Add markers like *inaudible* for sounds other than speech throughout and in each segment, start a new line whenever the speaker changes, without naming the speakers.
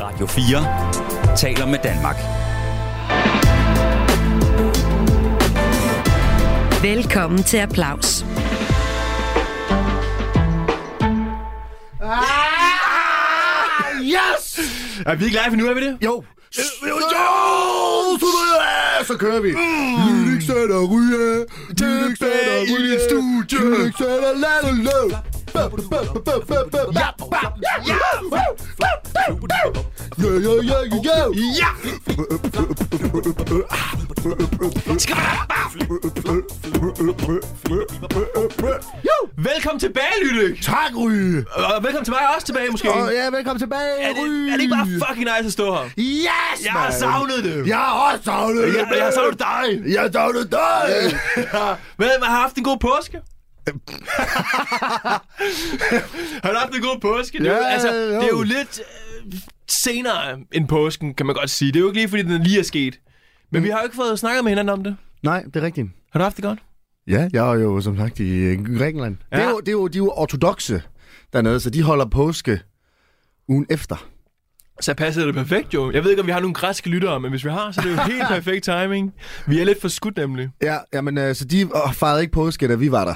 Radio 4 taler med Danmark.
Velkommen til Applaus.
Yes!
Er vi ikke live endnu, er vi det? Øh,
Jo! Jo! Så kører vi. Lyrik sæt og ryge. Lyrik sæt og
Mm. i
ryge.
dit studie.
Lyrik sæt og lad det løb. Ja, ja, ja, ja, ja.
Ja! Velkommen tilbage, Lydik!
Tak, Ryge.
Og velkommen til mig også tilbage, måske.
Og ja, velkommen tilbage,
Er det,
Ryge.
er det ikke bare fucking nice at stå her?
Yes,
Jeg har
mand.
savnet det.
Jeg har også savnet
Jeg, jeg har savnet dig.
Jeg har savnet dig.
Hvad, man har haft en god påske?
Øhm.
*laughs* har du haft en god påske? Det er, jo,
Ja,
altså, det er jo
jo.
lidt øh, senere end påsken, kan man godt sige. Det er jo ikke lige, fordi den lige er sket.
Mm.
Men vi har jo ikke fået snakket med hinanden om det.
*laughs* Nej, det er rigtigt.
Har du haft det godt?
Ja, jeg er jo som sagt i øh, Grækenland. Ja. Det er jo, det er jo, de er jo ortodoxe dernede, så de holder påske ugen efter.
Så passer det perfekt jo. Jeg ved ikke, om vi har nogle græske lyttere, men hvis vi har, så er
*laughs*
det jo helt perfekt timing. Vi er lidt for skudt nemlig.
Ja, jamen, øh, så de øh, fejrede ikke påske, da vi var der.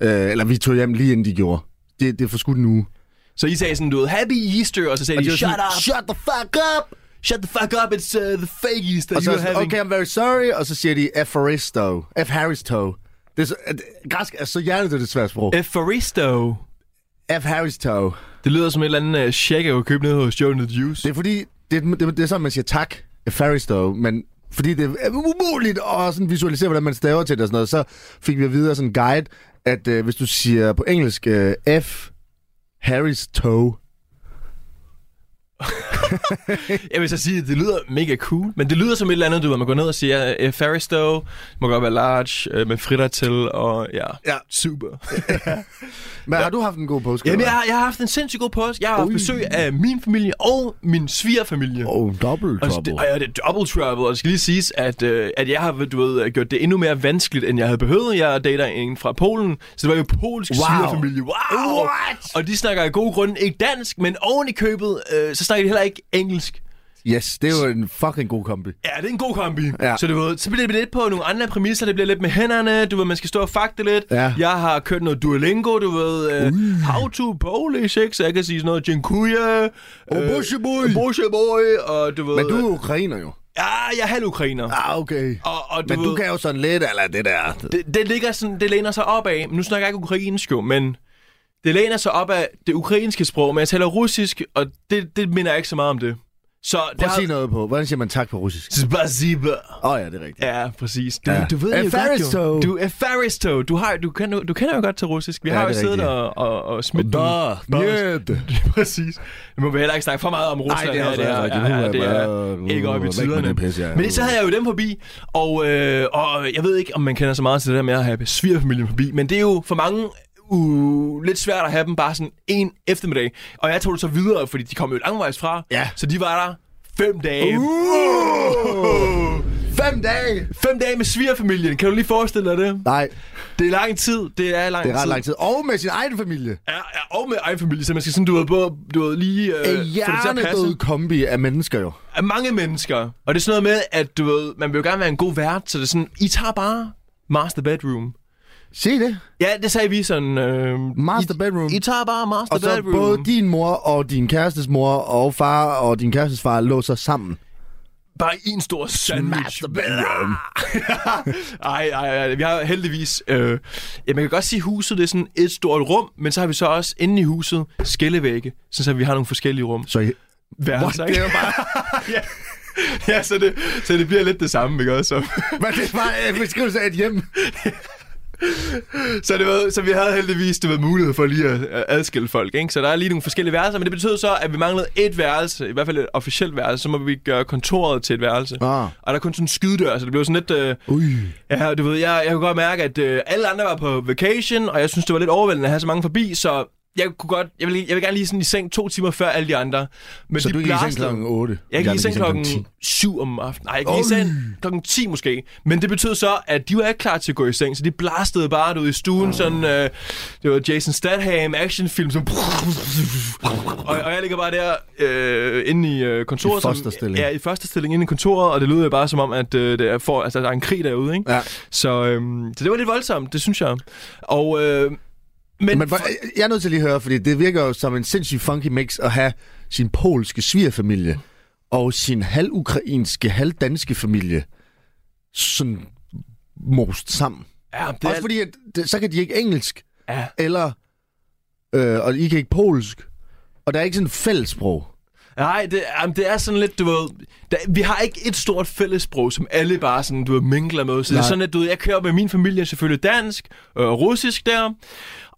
Øh, eller vi tog hjem lige inden de gjorde. Det, det er forskudt nu.
Så I sagde sådan, du ved, happy Easter, og så sagde
Og
de,
de var
shut
sådan,
up,
Shut the fuck up!
shut the fuck up, it's uh, the fake Easter
Og så,
you're
er sådan,
having.
okay, I'm very sorry. Og så siger de, F. Haristo. F. Haristo. Det er så, at, græsk er så hjernedødt et svært sprog.
Efaristo.
F. Haristo.
Det lyder som et eller andet uh, check, jeg kunne købe nede hos Joe and the Juice.
Det er fordi, det, er- det, er- det er sådan, man siger tak, Faristow, men fordi det er umuligt at sådan visualisere, hvordan man staver til det og sådan noget, så fik vi at vide af sådan en guide, at øh, hvis du siger på engelsk øh, F. Harrys toe.
Jeg vil så sige, at det lyder mega cool, men det lyder som et eller andet, du ved, man går ned og siger, Efaristo, må godt være large, øh, med fritter til, og ja,
Ja.
super.
Men har du haft en god påske?
Jamen, jeg, har- jeg har haft en sindssygt god påske. Jeg har haft
Ui.
besøg af min familie og min svigerfamilie.
Oh, double
Og det,
trouble.
og ja, det er double trouble, og det skal lige siges, at, øh, at jeg har du ved, gjort det endnu mere vanskeligt, end jeg havde behøvet. Jeg dater en fra Polen, så det var jo polsk
Wow.
svigerfamilie. Wow!
What?
Og de snakker af gode grunde ikke dansk, men oven i købet, øh, så snakker de heller ikke engelsk.
Yes, det er jo en fucking god kombi.
Ja, det er en god kombi.
Ja.
Så, du ved, så bliver det lidt på nogle andre præmisser. Det bliver lidt med hænderne. Du ved, man skal stå og fakte lidt.
Ja.
Jeg har kørt noget Duolingo, du ved. Øh, how to Polish, ikke? Så jeg kan sige sådan noget Dziękuję.
Og Bosheboy.
Bosheboy. Og du ved...
Men du er ukrainer jo.
Ja, jeg er halv ukrainer.
Ah, okay.
Og, og du
Men
ved,
du kan jo sådan lidt, eller det der.
det, det, ligger sådan, det læner sig op af, nu snakker jeg ikke ukrainsk jo, men det læner sig op af det ukrainske sprog, men jeg taler russisk, og det, det minder jeg ikke så meget om det. Så det
Prøv at sige noget på. Hvordan siger man tak på russisk?
Spasiba.
Åh oh, ja, det er rigtigt.
Ja, præcis. Du,
Ja.
du ved jo godt,
Efaristo.
jo. Du er Faristo. Du, har, du, kan, du kender jo godt til russisk. Vi
Ja,
har jo
det er
siddet
rigtigt.
og, og, og smidt nogle-
Нет.
*laughs* Præcis. Nu må vi heller ikke snakke for meget om Rusland.
det er
her,
også
her.
rigtigt.
Ja, ja,
Nu er
det
jeg
er
bare-
ikke op i
væk med
tiderne.
det pis, ja.
Men så havde jeg jo dem forbi, og, øh, og jeg ved ikke, om man kender så meget til det der med at have svigerfamilien forbi, men det er jo for mange uh, lidt svært at have dem bare sådan en eftermiddag. Og jeg tog det så videre, fordi de kom jo langvejs fra,
Ja.
så de var der fem dage.
Uh! Fem dage!
Fem dage med svigerfamilien. Kan du lige forestille dig det?
Nej,
Det er lang tid. Det er lang
det er ret
tid.
lang tid. Og med sin egen familie.
Ja, ja, og med egen familie, så man skal sådan, du ved, både, du ved lige øh, få det
En
til at passe.
hjernedød kombi af mennesker jo.
af mange mennesker. Og det er sådan noget med, at du ved, man vil jo gerne være en god vært, så det er sådan, I tager bare master bedroom.
Se det.
Ja, det sagde vi sådan. Øh,
Master
I,
bedroom.
I tager bare master
Og så
bedroom.
både din mor og din kærestes mor og far og din kærestes far lå så sammen.
Bare i en stor sandwich.
Master bedroom.
ej, ej, ej, vi har heldigvis... Øh, ja, man kan godt sige, at huset det er sådan et stort rum, men så har vi så også inde i huset skillevægge, sådan så vi har nogle forskellige rum.
Så I...
Værelser,
What? Det er
ikke?
jo bare...
*laughs* ja, ja så, det, så det bliver lidt det samme, ikke også? Så-
Men det er bare en beskrivelse af et hjem.
Så, det var, så vi havde heldigvis det var mulighed for lige at at adskille folk, ikke? Så der er lige nogle forskellige værelser, men det betød så, at vi manglede et værelse, i hvert fald et officielt værelse, så må vi gøre kontoret til et værelse.
Ah.
Og der er kun sådan en skydedør, så det blev sådan lidt... Øh,
Ui.
ja, du ved, jeg, jeg kunne godt mærke, at øh, alle andre var på vacation, og jeg synes, det var lidt overvældende at have så mange forbi, så jeg kunne godt, jeg vil, jeg vil gerne lige sådan i seng to timer før alle de andre. Men
Så
de
du gik i seng
blastede-
klokken 8?
Jeg gik i seng klokken
10.
7 om aftenen. Nej, jeg gik i seng klokken 10 måske. Men det betød så, at de var ikke klar til at gå i seng, så de blastede bare ud i
Ah.
stuen. Sådan, øh, det var Jason Statham actionfilm. Sådan, og, og jeg ligger bare der øh, inde i øh, kontoret.
I
som-
fosterstilling.
Ja, i første stilling inde i kontoret, og det lyder jo bare som om, at øh, det er for, altså, der er en krig derude. Ikke?
Ja.
Så, øhm, så det var lidt voldsomt, det synes jeg. Og, øh, men,
Men hvor- jeg er nødt til lige at høre, fordi det virker jo som en sindssygt funky mix at have sin polske svigerfamilie og sin halvukrainske, halvdanske familie sådan most sammen.
ja, det
Det
er,
Også fordi, at det, så kan de ikke engelsk,
ja,
eller øh, og I kan ikke polsk, og der er ikke sådan et fællessprog.
nej, det, jamen, det er sådan lidt, du ved, der, vi har ikke et stort fællessprog, som alle bare sådan, du ved, mingler med. Så det er
Nej.
sådan, at du ved, jeg kører med min familie selvfølgelig dansk og øh, russisk der.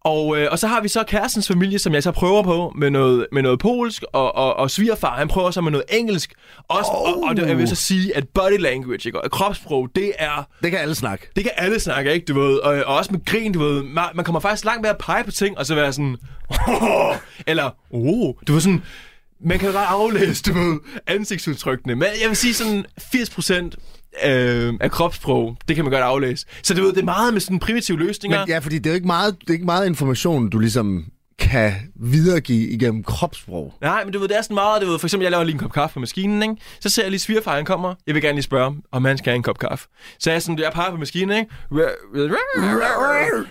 Og, øh, og så har vi så kærestens familie, som jeg så prøver på med noget, med noget polsk, og, og, og svigerfar, han prøver så med noget engelsk. Også, oh. og, og det, jeg vil så sige, at body language, ikke, og kropssprog, det er...
Det kan alle snakke.
Det kan alle snakke, ikke, du ved? Og, og også med grin, du ved. Man, man kommer faktisk langt med at pege på ting, og så være sådan... *laughs* eller... Oh, du ved sådan... Man kan jo godt aflæse, du ved, ansigtsudtrykkene. Men jeg vil sige sådan 80% øh, af kropssprog, det kan man godt aflæse. Så du ved, det er meget med sådan primitive løsninger.
Men ja, fordi det er jo ikke meget, det er ikke meget information, du ligesom kan videregive igennem kropssprog.
Nej, men du ved, det er sådan meget, du ved, for eksempel, jeg laver lige en kop kaffe på maskinen, ikke? Så ser jeg lige svigerfar, han kommer. Jeg vil gerne lige spørge, om han skal have en kop kaffe. Så jeg sådan, jeg peger på maskinen, ikke?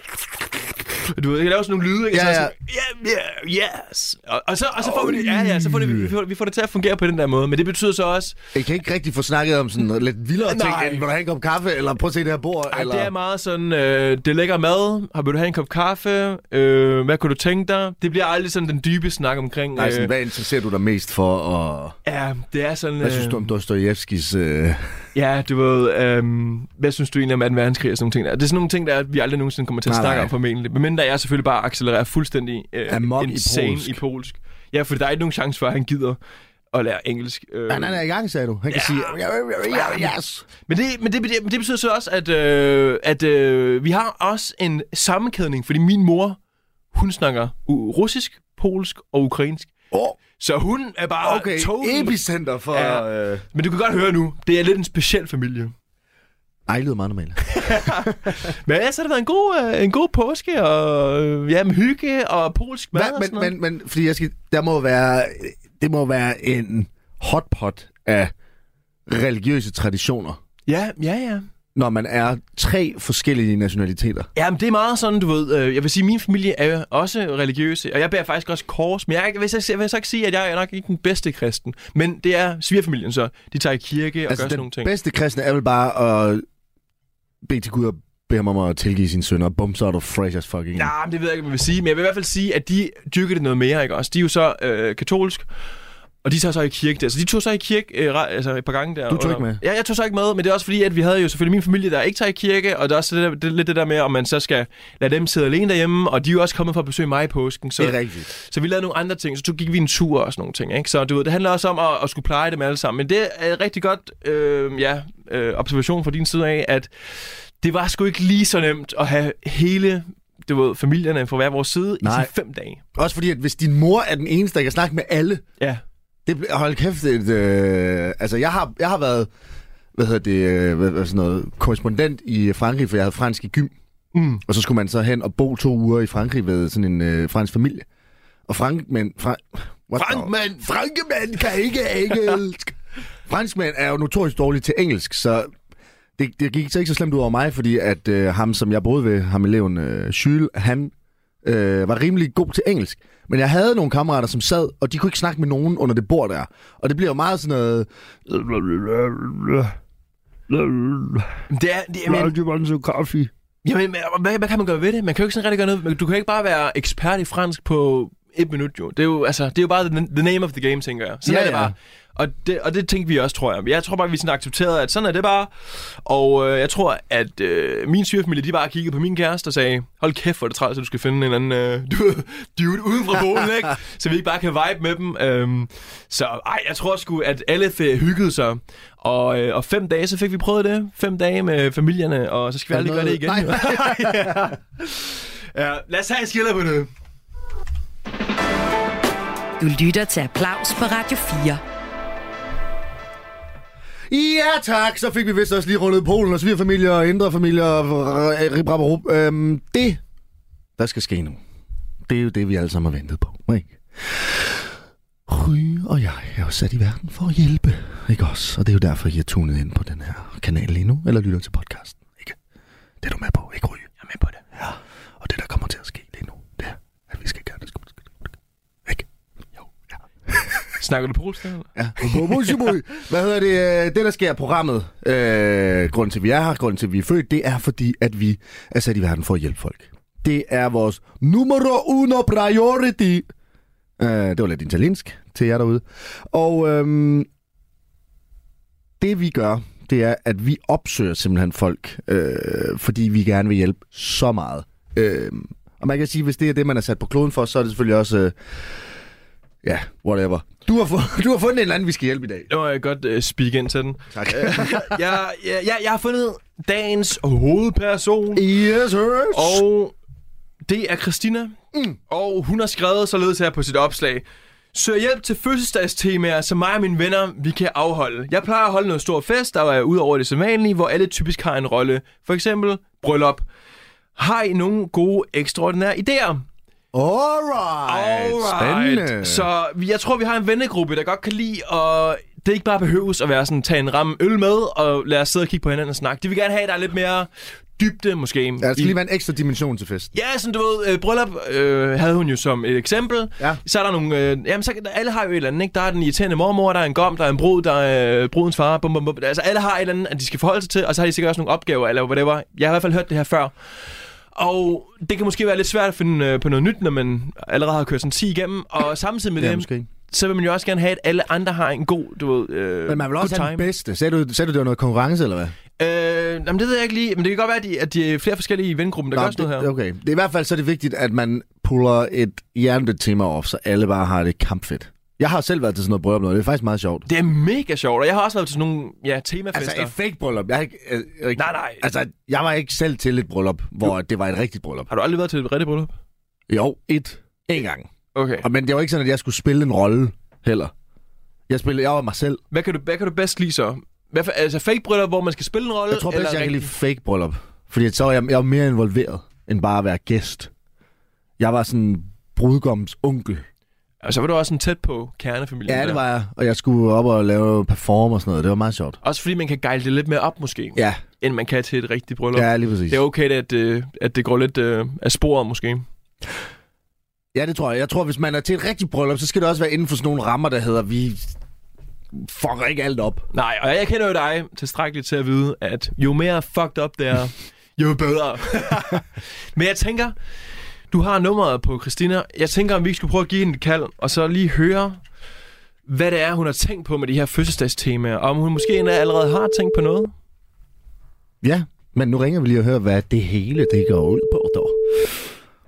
Du ved, jeg laver sådan nogle lyde, ikke?
Ja,
så er jeg sådan, yeah, yeah, yes. Og, og, så, og så får vi det, ja, ja, så får det, vi, får, vi får det til at fungere på den der måde. Men det betyder så også,
Jeg kan ikke rigtig få snakket om sådan lidt vildere ting,
Nej.
end vil du have en kop kaffe, eller prøv at se det her bord,
Ej,
eller...
det er meget sådan, øh, det er lækker mad, har vil du have en kop kaffe, øh, hvad kunne du tænke dig? Det bliver aldrig sådan den dybe snak omkring... øh,
Nej, sådan, hvad interesserer du dig mest for, og
ja, det er sådan...
hvad synes
øh,
du om Dostojevskis... Øh...
Ja, du ved, øhm, hvad synes du egentlig om 2. verdenskrig og sådan nogle ting der? Det er sådan nogle ting, der vi aldrig nogensinde kommer til at
Nej,
snakke
nej.
om formentlig. Men mindre jeg selvfølgelig bare accelererer fuldstændig øh,
Amok i
insane
polsk.
i polsk. Ja, for der er ikke nogen chance for, at han gider at lære engelsk. Øh.
Nej, nej, nej, i gang, sagde du. Han kan sige... "Oh, "Ja, ja, ja, yes."
Men, det, men, det, men det- men det betyder så også, at, øh, at øh, vi har også en sammenkædning, fordi min mor, hun snakker u- russisk, polsk og ukrainsk.
Åh,
Så hun er bare
okay,
total-
epicenter for...
Ah, Ja.
Øh...
Men du kan godt høre nu, det er lidt en speciel familie.
Ej, lyder meget normalt.
Men ja, så har det været en god, øh, en god påske, og øh, ja, med hygge og polsk mad og
Hvad,
sådan
men,
noget.
men, men, fordi jeg skal, der må være, det må være en hotpot af religiøse traditioner,
Ja, ja, ja.
når man er tre forskellige nationaliteter.
Ja, men det er meget sådan, du ved, øh, jeg vil sige, min familie er jo også religiøse, og jeg bærer faktisk også kors, men jeg, vil, så, jeg vil så ikke sige, at jeg er nok ikke den bedste kristen, men det er svigerfamilien så, de tager i kirke og altså, gør sådan
den
nogle ting.
bedste kristne er vel bare at bede til Gud og bede ham om at tilgive sine sønner. Bum, så er du fresh as fucking.
Nej, men det ved jeg ikke, hvad man vil sige, men jeg vil i hvert fald sige, at de dyrker det noget mere, ikke også? De er jo så øh, katolsk, og de tager så i kirke der. Så de tog så i kirke øh, re- altså et par gange der.
Du tog ikke med?
Ja, jeg tog så ikke med, men det er også fordi, at vi havde jo selvfølgelig min familie, der ikke tager i kirke, og der er også det der, det, er lidt det der med, om man så skal lade dem sidde alene derhjemme, og de er jo også kommet for at besøge mig i påsken. Så,
Det er rigtigt.
så vi lavede nogle andre ting, så tog, gik vi en tur og sådan nogle ting. Ikke? Så du ved, det handler også om at, at skulle pleje dem alle sammen. Men det er rigtig godt øh, ja, øh, observation fra din side af, at det var sgu ikke lige så nemt at have hele du ved, familierne fra hver vores side
Nej.
i de fem dage.
Også fordi, at hvis din mor er den eneste, der kan snakke med alle,
Ja.
det bliver, hold kæft, et, øh, altså jeg har, jeg har været, hvad hedder det, øh, hvad, hvad, sådan noget, korrespondent i Frankrig, for jeg havde fransk i gym.
Mm.
Og så skulle man så hen og bo to uger i Frankrig ved sådan en øh, fransk familie. Og frankmænd... Fra, what the-
Frankmænd!
Frankmænd kan ikke engelsk! Franskmænd er jo notorisk dårlige til engelsk, så det, det gik så ikke så slemt ud over mig, fordi at øh, ham, som jeg boede ved, ham eleven øh, Jules, han øh, var rimelig god til engelsk. Men jeg havde nogle kammerater, som sad, og de kunne ikke snakke med nogen under det bord der. Og det bliver jo meget sådan noget...
Det er, det, jamen,
you want some coffee?
jamen, hvad, hvad, kan man gøre ved det? Man kan jo ikke sådan rigtig gøre noget. men Du kan ikke bare være ekspert i fransk på et minut, jo. Det er jo, altså, det er jo bare the, the name of the game, tænker jeg. Sådan
Ja,
er det
ja.
bare. Og det, og det tænkte vi også, tror jeg. Jeg tror bare, vi sådan accepterede, at sådan er det bare. Og øh, jeg tror, at øh, min svigerfamilie, de bare kiggede på min kæreste og sagde, hold kæft, hvor er det træls, at du skal finde en eller anden øh, *laughs* du ved, dude uden fra bolen, *laughs* ikke? Så vi ikke bare kan vibe med dem. Øhm, så ej, jeg tror sgu, at alle øh, hyggede sig. Og, øh, og fem dage, så fik vi prøvet det. Fem dage med familierne, og så skal vi
Der
aldrig *laughs*
er
gøre det igen.
noget-
jo. ja. Lad os have en skiller på det.
Du lytter til Applaus på Radio 4.
Ja tak, så fik vi vist også lige rundet Polen og svigerfamilier og indre familier og r- rip, rap og rup. Øhm, det, der skal ske nu, det er jo det, vi alle sammen har ventet på, ikke? Ry og jeg er jo sat i verden for at hjælpe, ikke også? Og det er jo derfor, I er tunet ind på den her kanal lige nu, eller lytter til podcasten, ikke? Det er du med på, ikke Ry? Jeg er med på det. Ja, og det, der kommer til at ske lige nu, det er, at vi skal gøre det skudt. Ikke? Jo, ja.
Snakker du polsk der? eller?
Ja. Hvad hedder det? øh, Det, der sker i programmet, øh, grunden til, at vi er her, grunden til, at vi er født, det er fordi, at vi er sat i verden for at hjælpe folk. Det er vores numero uno priority. Øh, det var lidt italiensk til jer derude. Og øhm, det, vi gør, det er, at vi opsøger simpelthen folk, øh, fordi vi gerne vil hjælpe så meget. Øh, og man kan sige, hvis det er det, man er sat på kloden for, så er det selvfølgelig også... Øh, Ja, whatever. Du har, fund, *laughs* du har fundet en eller anden, vi skal hjælpe i dag.
Det må jeg godt uh, speak ind til den.
Tak.
Jeg, jeg, jeg, jeg har fundet dagens hovedperson,
*laughs* yes, sir.
og det er Christina. Mm. Og hun har skrevet således her på sit opslag. Søg hjælp til fødselsdagstemaer, som mig og mine venner, vi kan afholde. Jeg plejer at holde noget stor fest, der er ud over det sædvanlige, hvor alle typisk har en rolle. For eksempel bryllup. Har I nogle gode, ekstraordinære idéer?
Alright. Spændende.
Så vi- jeg tror, vi har en vennegruppe, der godt kan lide, og det er ikke bare behøves at være sådan, tage en ramme øl med, og lade os sidde og kigge på hinanden og snakke. De vil gerne have, at der er lidt mere dybde, måske.
Ja, altså der skal
i-
lige være en ekstra dimension til festen.
Ja, sådan du ved, øh, bryllup øh, havde hun jo som et eksempel.
Ja.
Så er der nogle... Øh, jamen, så, alle har jo et eller andet, ikke? Der er den irriterende mormor, der er en gom, der er en brud, der er øh, brudens far. Bum, bum, bum. Altså, alle har et eller andet, at de skal forholde sig til, og så har de sikkert også nogle opgaver, eller whatever. Jeg har i hvert fald hørt det her før. Og det kan måske være lidt svært at finde øh, på noget nyt, når man allerede har kørt sådan 10 igennem.
*coughs*
Og samtidig med
Ja,
det,
måske.
så vil man jo også gerne have, at alle andre har en god, du ved, øh,
Men man vil
good
også have den
time.
bedste. Sagde du, sagde du, det var noget konkurrence, eller hvad?
Øh, jamen, det ved jeg ikke lige. Men det kan godt være, at de, at de er flere forskellige i vengruppen, der gør sådan noget her.
det, okay. Det er i hvert fald så er det vigtigt, at man puller et jernbedt tema op, så alle bare har det kampfedt. Jeg har selv været til sådan noget bryllup noget. Det er faktisk meget sjovt.
Det er mega sjovt, og jeg har også været til sådan nogle ja, temafester.
Altså et fake bryllup. Jeg har ikke, øh, jeg,
Nej, nej.
Altså, jeg var ikke selv til et bryllup, hvor det var et rigtigt bryllup.
har du aldrig været til et rigtigt bryllup?
Jo, et. En gang.
Okay.
Og, men det var ikke sådan, at jeg skulle spille en rolle heller. Jeg, spillede, jeg var mig selv.
Hvad kan du, hvad kan du bedst lide så? Hvad for, altså fake bryllup, hvor man skal spille en rolle?
Jeg tror bedst, jeg kan lide
rigtig-
fake bryllup. Fordi så var jeg, jeg var mere involveret, end bare at være gæst. Jeg var sådan brudgommens onkel.
Og så var Altså, du også sådan tæt på kernefamilien.
Ja,
der.
det var jeg. Og jeg skulle op og lave perform og sådan noget. Det var meget sjovt.
Også fordi man kan gejle det lidt mere op måske,
Ja,
end man kan til et rigtigt bryllup.
ja lige præcis.
Det er okay, at, øh, at det går lidt øh, af sporet måske.
Ja, det tror jeg. Jeg tror, hvis man er til et rigtigt bryllup, så skal det også være inden for sådan nogle rammer, der hedder, vi fucker ikke alt op.
Nej, og jeg kender jo dig tilstrækkeligt til at vide, at jo mere fucked up det er, jo *laughs* bedre. Men jeg tænker, du har nummeret på Christina. Jeg tænker, om vi ikke skulle prøve at give hende et kald, og så lige høre, hvad det er, hun har tænkt på med de her fødselsdagstemaer. Og om hun måske endda allerede har tænkt på noget.
Ja, men nu ringer vi lige og hører, hvad det hele det går ud på, dog.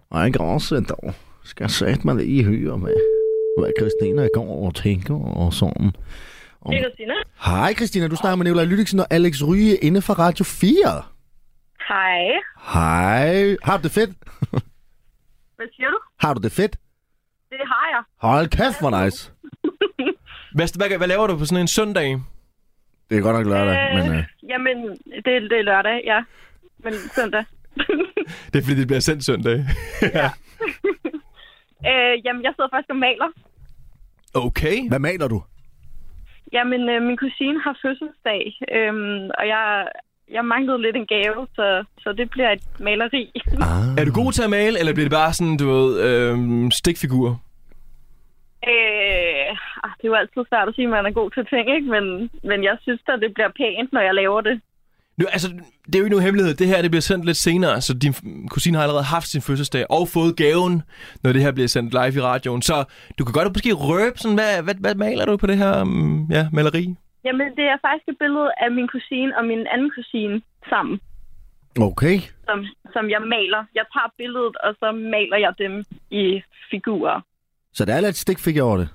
Og ikke også, dog. Skal jeg sætte mig lige i høre med, hvad Christina går og tænker og sådan. Om...
Det er Christina.
Hej Christina, du snakker med Nicolaj Lydiksen og Alex Ryge inde fra Radio 4.
Hej.
Hej. Har du det fedt?
Hvad siger du?
Har du det fedt?
Det har jeg.
Hold kæft, hvor nice.
Hvad, hvad, hvad laver du på sådan en søndag?
Det er godt nok lørdag, men...
øh...
Øh...
Jamen, det, er- det er lørdag, ja. Men søndag. *laughs*
Det er fordi, det bliver sendt søndag.
øh, jamen, jeg sidder faktisk og maler.
Okay.
Hvad maler du?
Jamen, øh, min kusine har fødselsdag, øhm, og jeg, jeg manglede lidt en gave, så, så det bliver et maleri. *laughs*
Ah.
Er du god til at male, eller bliver det bare sådan, du ved, øh, stikfigurer?
øh, ah, det er jo altid svært at sige, at man er god til ting, ikke? Men, men jeg synes da, det bliver pænt, når jeg laver det.
Nu, altså, det er jo ikke nogen hemmelighed. Det her det bliver sendt lidt senere, så din f- kusine har allerede haft sin fødselsdag og fået gaven, når det her bliver sendt live i radioen. Så du kan godt måske røbe sådan, hvad, hvad, hvad maler du på det her mm, ja, maleri?
Jamen, det er faktisk et billede af min kusine og min anden kusine sammen.
Okay.
som, som jeg maler. Jeg tager billedet, og så maler jeg dem i figurer.
Så der er lidt stikfig over det.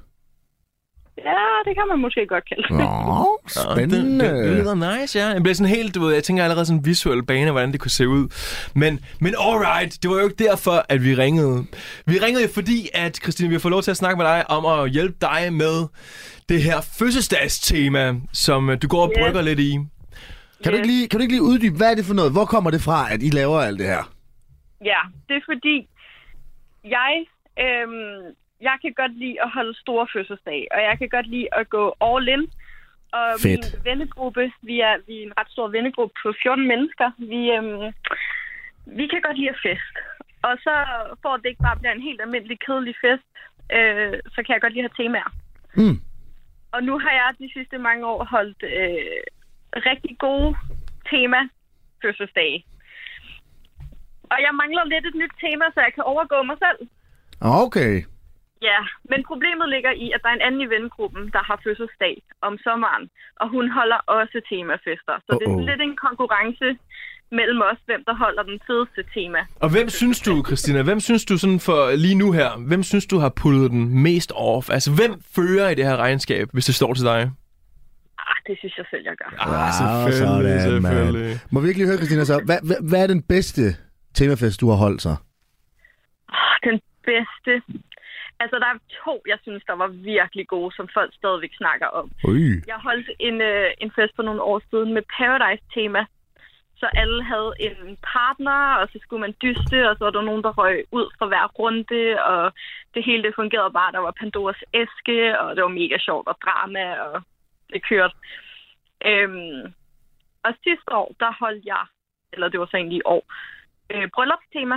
Ja, det kan man måske godt kalde det.
Nå, spændende.
Det, det, det lyder nice, ja. Jeg bliver sådan helt, du ved, jeg tænker allerede sådan visuel bane, hvordan det kunne se ud. Men, men alright, det var jo ikke derfor, at vi ringede. Vi ringede jo fordi, at Christine, vi har fået lov til at snakke med dig om at hjælpe dig med det her fødselsdagstema, som øh, du går og
Ja.
brygger lidt i.
Kan, du ikke lige, kan du ikke lige uddybe, hvad er det for noget? Hvor kommer det fra, at I laver alt det her?
Ja, det er fordi, jeg, øhm, jeg kan godt lide at holde store fødselsdage, og jeg kan godt lide at gå all in. Og
Fedt.
min vennegruppe, vi er, vi er en ret stor vennegruppe på 14 mennesker, vi, øhm, vi kan godt lide at fest. Og så for at det ikke bare bliver en helt almindelig kedelig fest, øh, så kan jeg godt lide at have temaer.
Mm.
Og nu har jeg de sidste mange år holdt øh, rigtig gode tema fødselsdage. Og jeg mangler lidt et nyt tema, så jeg kan overgå mig selv.
Okay.
Ja, men problemet ligger i, at der er en anden i vennegruppen, der har fødselsdag om sommeren, og hun holder også temafester. Så det er
Uh-oh.
sådan lidt en konkurrence mellem os, hvem der holder den fedeste tema.
Og hvem synes du, Christina, hvem synes du sådan for lige nu her, hvem synes du har puttet den mest off? Altså, hvem fører i det her regnskab, hvis det står til dig?
Ah, det synes jeg selv, jeg gør.
Ah,
sådan, mand. Må vi ikke lige høre, Christina, så? Hvad, hvad, hvad er den bedste temafest, du har holdt så?
Ah, Den bedste. Altså, der er to, jeg synes, der var virkelig gode, som folk stadigvæk snakker om.
Øj.
Jeg holdt en, øh, en fest for nogle år siden med Paradise-tema. Så alle havde en partner, og så skulle man dyste, og så var der nogen, der røg ud fra hver runde, og det hele det fungerede bare. Der var Pandoras æske, og det var mega sjovt og drama, og det kørte. Øhm, og sidste år, der holdt jeg, eller det var så egentlig i år, øh, bryllupstema.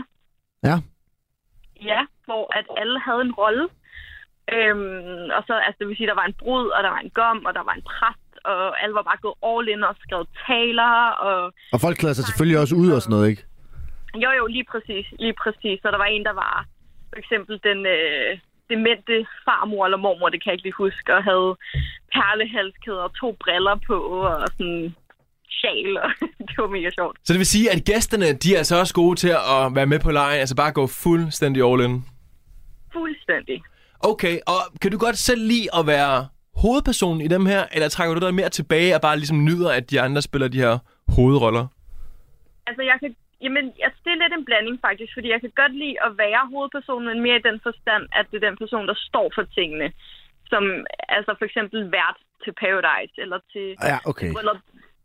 Ja.
Ja, hvor at alle havde en rolle. Øhm, og så, altså det vil sige, der var en brud, og der var en gom, og der var en præst, og alle var bare gået all in og skrevet taler, og
Og folk klæder sig selvfølgelig også ud og sådan noget, ikke?
jo jo, lige præcis, lige præcis. Så der var en, der var for eksempel den øh, demente farmor eller mormor, det kan jeg ikke lige huske, og havde perlehalskæder og to briller på, og sådan sjal, og *laughs* det var mega sjovt.
Så det vil sige, at gæsterne, de er så også gode til at være med på lejen, altså bare gå fuldstændig all in.
Fuldstændig.
Okay, og kan du godt selv lide at være hovedpersonen i dem her, eller trækker du dig mere tilbage og bare ligesom nyder, at de andre spiller de her hovedroller?
Altså, jeg kan... Jamen, altså, det er lidt en blanding faktisk, fordi jeg kan godt lide at være hovedpersonen, men mere i den forstand, at det er den person, der står for tingene. Som altså for eksempel vært til Paradise, eller til
Ja, okay.
bryllup,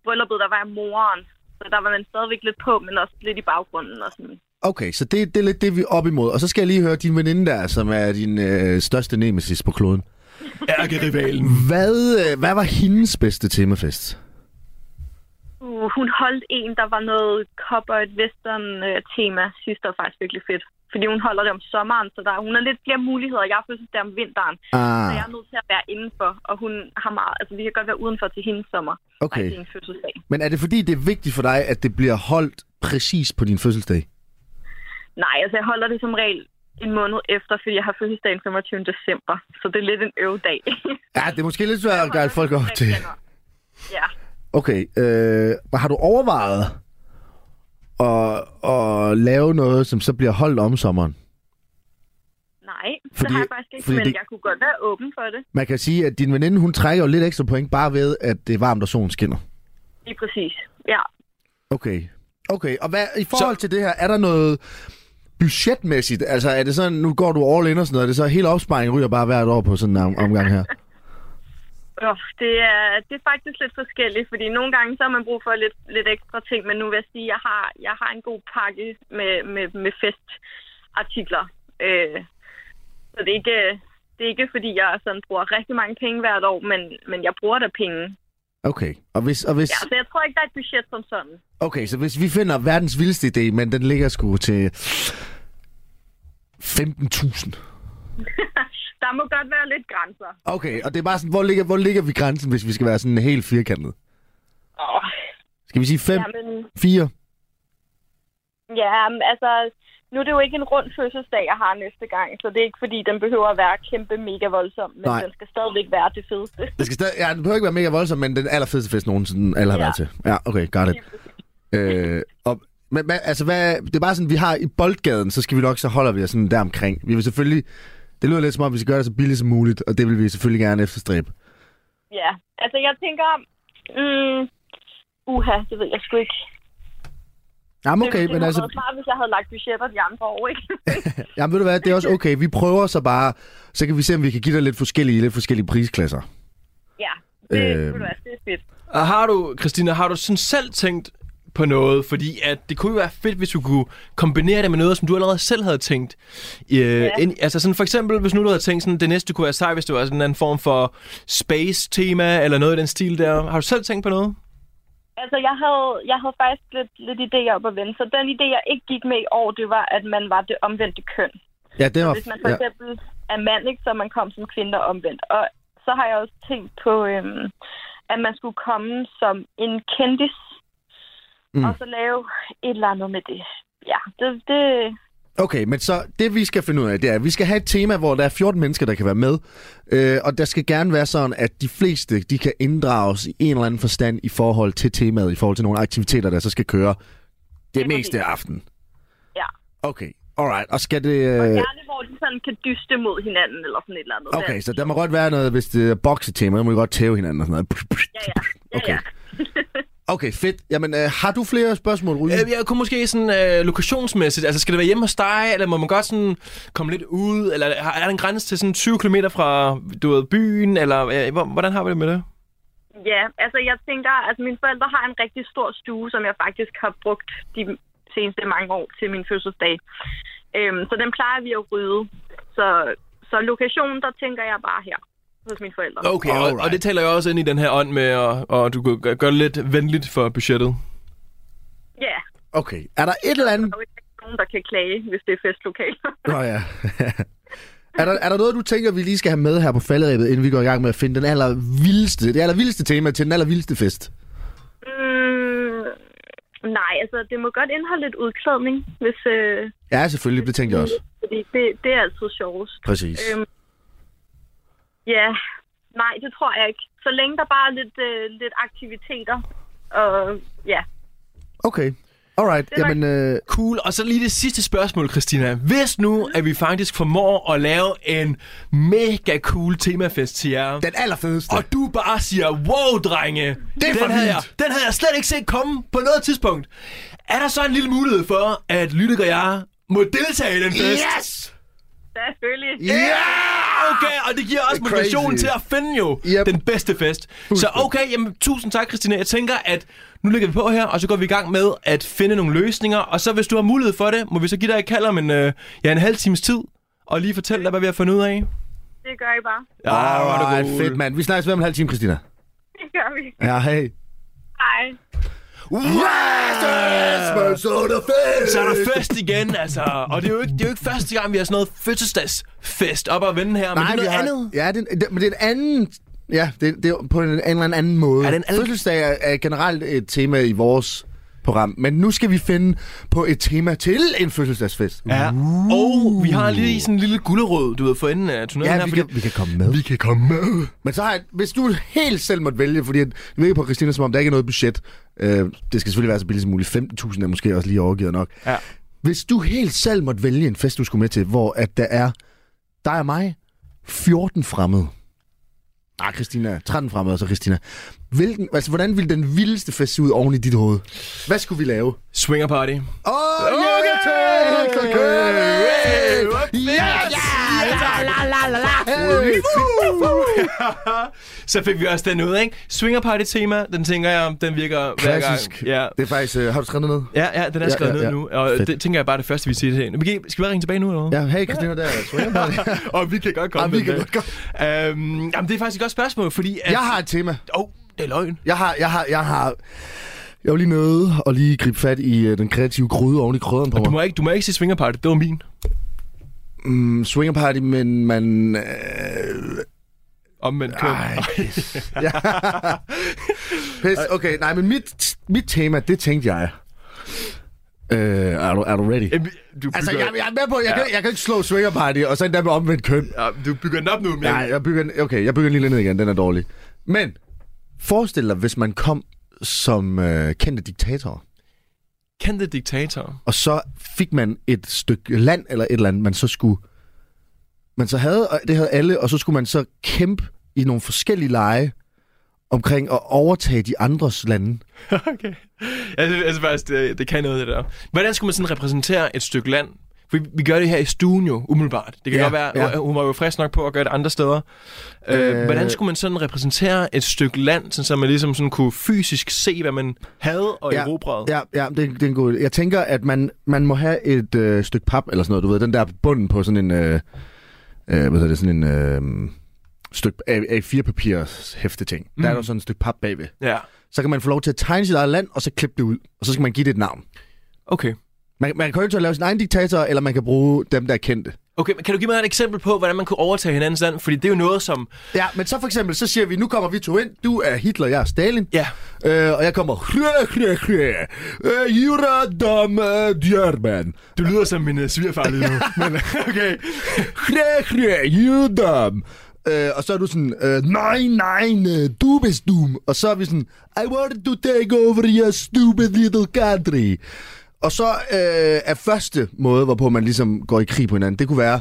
brylluppet, der var jeg moren. Så der var man stadigvæk lidt på, men også lidt i baggrunden. Og sådan.
Okay, så det, det er lidt det, vi er op imod. Og så skal jeg lige høre din veninde der, som er din øh, største nemesis på kloden.
Ærgerivalen.
Hvad, øh, hvad var hendes bedste temafest?
Uh, hun holdt en, der var noget copper et western øh, tema sidste år, faktisk virkelig fedt. Fordi hun holder det om sommeren, så der, hun har lidt flere muligheder. Jeg har fødselsdag om vinteren, Så
Ah,
jeg er nødt til at være indenfor, og hun har meget... Altså, vi kan godt være udenfor til hendes sommer.
Okay.
Nej, til hendes fødselsdag.
men er det fordi, det er vigtigt for dig, at det bliver holdt præcis på din fødselsdag?
Nej, altså, jeg holder det som regel en måned efter, fordi jeg har fødselsdag den 25. december. Så det er lidt en
*laughs*
øvedag.
Ja, det er måske lidt svært at gøre folk op til.
Ja.
Okay, øh, men har du overvejet at, at lave noget, som så bliver holdt om sommeren?
Nej, fordi, det
Fordi-
har jeg faktisk ikke,
fordi
men
det-
det... jeg kunne godt være åben for det.
Man kan sige, at din veninde, hun trækker jo lidt ekstra point, bare ved, at det er varmt og solen skinner.
Lige præcis. Ja.
Okay. Okay, og hvad, i forhold så... til det her, er der noget budgetmæssigt? Altså, er det sådan, nu går du all in og sådan noget, er det så hele opsparingen ryger bare hvert år på sådan en om- omgang her?
Oh, det, er, det er faktisk lidt forskelligt, fordi nogle gange så har man brug for lidt, lidt ekstra ting, men nu vil jeg sige, at jeg har, jeg har en god pakke med, med, med festartikler. Øh, så det er, ikke, det er ikke, fordi jeg sådan bruger rigtig mange penge hvert år, men, men jeg bruger da penge.
Okay, og hvis, og hvis,
Ja, så jeg tror ikke, der er et budget som sådan.
okay, så hvis vi finder verdens vildeste idé, men den ligger sgu til 15.000.
Der må godt være lidt grænser.
Okay, og det er bare sådan, hvor ligger, hvor ligger vi grænsen, hvis vi skal være sådan helt firkantet?
Oh,
Skal vi sige 5,
jamen,
4?
Ja, men altså, nu er det jo ikke en rund fødselsdag, jeg har næste gang, så det er ikke fordi, den behøver at være kæmpe mega voldsom, men
Nej.
Nej. den skal stadigvæk være det fedeste.
Det skal stadig, ja, det behøver ikke være mega voldsomt, men den allerfedeste fest nogensinde alle har ja.
Ja.
været til. Ja, okay, got it. Øh, og, men, men altså, hvad, det er bare sådan, vi har i boldgaden, så skal vi nok, så holder vi os sådan der omkring. Vi vil selvfølgelig Det lyder lidt som om, vi skal gøre det så billigt som muligt, og det vil vi selvfølgelig gerne efterstræbe.
Ja, altså jeg tænker... Mm, uha, det ved jeg sgu ikke.
Jamen okay,
det ville
men altså,
have været smart, hvis jeg havde lagt budgetter de andre år,
*laughs*
ikke?
jamen ved du hvad, det er også okay. Vi prøver så bare, så kan vi se, om vi kan give dig lidt forskellige, lidt forskellige prisklasser.
ja, det,
Øhm.
øh... det er fedt.
Og har du, Christina, har du sådan selv tænkt på noget? Fordi at det kunne jo være fedt, hvis du kunne kombinere det med noget, som du allerede selv havde tænkt. Øh, ja. ind, altså sådan for eksempel, hvis nu du havde tænkt sådan, det næste kunne være sej, hvis det var sådan en anden form for space-tema, eller noget i den stil der. Har du selv tænkt på noget?
Altså, jeg havde, jeg havde faktisk lidt, lidt idéer op at vende. Så den idé, jeg ikke gik med i år, det var, at man var det omvendte køn.
Ja, det var...
Hvis man for
Ja.
eksempel er mand, ikke, så er man kom som kvinde og omvendt. Og så har jeg også tænkt på, øhm, at man skulle komme som en kendis,
Mm.
mm. og så lave et eller andet med det. Ja, det, det
Okay, men så det vi skal finde ud af, det er, at vi skal have et tema, hvor der er 14 mennesker, der kan være med. Øh, og der skal gerne være sådan, at de fleste, de kan inddrages i en eller anden forstand i forhold til temaet, i forhold til nogle aktiviteter, der så skal køre det
er
meste af
præcis.
aftenen.
ja.
Okay, alright. Og skal det...
Og
Øh,
gerne, hvor de sådan kan dyste mod hinanden, eller sådan et eller andet.
okay, så der må godt være noget, hvis det er boksetema, der må vi godt tæve hinanden og sådan noget.
Ja, ja. ja,
Okay.
ja.
Okay, fedt. Jamen, øh, har du flere spørgsmål, Ryge?
Øh, jeg kunne måske sådan øh, lokationsmæssigt, altså skal det være hjemme hos dig, eller må man godt sådan komme lidt ud, eller har- er der en grænse til sådan 20 km fra, du ved, byen, eller øh, hvor- hvordan har vi det med det?
Ja, altså jeg tænker, at altså, mine forældre har en rigtig stor stue, som jeg faktisk har brugt de seneste mange år til min fødselsdag. Øhm, så den plejer vi at rydde. Så, så lokationen, der tænker jeg bare her hos mine forældre.
Okay, og, og
Alright.
det taler jo også ind i den her ånd med, og, og du kan gø- gøre det lidt venligt for budgettet.
Ja,
Okay. Er der et eller andet...
der er jo ikke nogen, der kan klage, hvis det er festlokaler.
Nå ja. *laughs* er, der, er der noget, du tænker, vi lige skal have med her på falderæbet, inden vi går i gang med at finde den allervildeste, det allervildeste tema til den allervildeste fest?
mm, nej, altså det må godt indeholde lidt udklædning, hvis, øh,
Ja, selvfølgelig. Det tænkte jeg også.
fordi det, det er altid sjovest.
Præcis.
Øhm, ja, nej, det tror jeg ikke. Så længe der bare er lidt, øh, lidt aktiviteter. Og ja,
Okay. Alright.
var-
Jamen, øh,
Cool, og så lige det sidste spørgsmål, Christina. Hvis nu, at vi faktisk formår at lave en mega cool temafest til jer,
den allerfedeste.
og du bare siger, wow, drenge,
Det er for
den, havde jeg,
vildt."
den havde jeg slet ikke set komme på noget tidspunkt. Er der så en lille mulighed for, at Lydik og jeg må deltage i den fest?
Yes!
selvfølgelig.
Ja!
Ah! Okay, og det giver også
Det er crazy.
motivation til at finde jo
Yep.
yep. den bedste fest. Så okay, jamen, tusind tak, Christina. Jeg tænker, at nu lægger vi på her, og så går vi i gang med at finde nogle løsninger. Og så hvis du har mulighed for det, må vi så give dig et kald om en, øh, ja, en halv times tid, og lige fortælle dig, hvad vi har fundet ud af.
Det gør I bare. *laughs*
Ja, hvor er du
Alright,
cool.
fedt mand. Vi snakkes ved om en halv time, Christina.
Det gør vi.
Ja, hey.
Hej.
Yes! Så er der fest!
Så er der fest igen, altså. Og det er jo ikke, det er jo ikke første gang, vi har sådan noget fødselsdagsfest op og vende her, men det er
vi
noget
har-
andet.
Ja, det, det, men det er en anden... Ja, det, det er på en, en eller anden- anden måde.
Er det en anden-
Fødselsdag er, er generelt et tema i vores program, men nu skal vi finde på et tema til en fødselsdagsfest.
Ja. Og vi har lige sådan en lille gulderød, du ved, for enden af turneringen her.
Ja, vi
fordi-
kan, vi kan komme med.
vi kan komme med.
Men så har jeg, hvis du helt selv måtte vælge, fordi det virker på Christina, som om der ikke er noget budget. Øh, det skal selvfølgelig være så billigt som muligt. 15.000 er måske også lige overgivet nok.
Ja.
Hvis du helt selv måtte vælge en fest, du skulle med til, hvor at der er dig og mig, 14 fremmede. Nej, Christina. 13 fremmede, og så Christina. Hvilken, altså, hvordan ville den vildeste fest se ud oven i dit hoved? Hvad skulle vi lave?
Swinger party.
Åh, oh, okay! Okay! okay. Yes! Hey!
Så fik vi også den ud, ikke? Swinger party tema, den tænker jeg, den virker hver gang.
Klassisk.
Ja.
Det er faktisk... Øh, har du skrevet det ned?
Ja, ja, den er
Ja,
skrevet
ja,
ned
ja.
nu, og
Fedt.
det tænker jeg bare er det første, vi siger til hende. Vi kan- Skal vi bare ringe tilbage nu, eller hvad?
Ja, hey Christina, der er swinger party.
Og vi kan godt komme
Ja, vi
med
kan
det.
godt komme.
Øhm, jamen, det er faktisk et godt spørgsmål, fordi... At,
Jeg har et tema.
Åh, oh, det er løgn.
Jeg har, jeg har, jeg har... Jeg var lige nødt og lige gribe fat i øh, den kreative gryde oven i krydderen på
Du
mig.
må ikke, du må ikke sige swinger party, det var min.
Mm, swinger party, men man... Øh,
Omvendt køn.
Ej. ja. Pis, okay, nej, men mit, mit tema, det tænkte jeg. Øh, er, du, er du ready?
Jamen, Du bygger,
Altså, jeg, jeg er med på, jeg, kan, jeg kan ikke slå swinger party, og så endda med omvendt køn.
ja, du bygger den op nu, men...
Nej, jeg bygger, den- okay, jeg bygger den lige ned igen, den er dårlig. Men, forestil dig, hvis man kom som øh, kendte diktator.
Kendte diktator.
Og så fik man et stykke land eller et eller andet, man så skulle man så havde, og det havde alle, og så skulle man så kæmpe i nogle forskellige lege omkring at overtage de andres lande.
Okay. Jeg synes, jeg synes faktisk, det, det kan noget, det der. Hvordan skulle man sådan repræsentere et stykke land? For vi, vi gør det her i stuen jo, umiddelbart. Det kan
Ja,
godt være,
ja.
ja. hun var jo frisk nok på at gøre det andre steder. Øh,
Øh.
hvordan skulle man sådan repræsentere et stykke land, sådan, så man ligesom sådan kunne fysisk se, hvad man havde og ja. erobrede? Ja.
Ja, ja det, er- det er en god idé. Jeg tænker, at man, man må have et øh, stykke pap, eller sådan noget, du ved, den der på bunden på sådan en, øh, øh, hvad hedder det, sådan en øh, stykke A4-papirs hæfteting. Mm. Der er der sådan et stykke pap bagved.
ja.
Så kan man få lov til at tegne sit eget land, og så klippe det ud, og så skal man give det et navn.
Okay.
Man, man kan jo ikke lave sin egen diktator, eller man kan bruge dem, der er kendte.
Okay, men kan du give mig et eksempel på, hvordan man kunne overtage hinandens land? Fordi det er jo noget, som...
Ja, men så for eksempel, så siger vi, nu kommer vi to ind, du er Hitler, jeg er Stalin.
Ja,
Øh, og jeg kommer... Øh, Jura dam Djerman.
du lyder som min uh, svigerfar lige
*laughs*
nu. men okay.
Judam. Øh, og så er du sådan, øh, nej, nej, øh, du er dum. Og så er vi sådan, I wanted to take over your stupid little country. Og så øh, er første måde, hvorpå man ligesom går i krig på hinanden, det kunne være,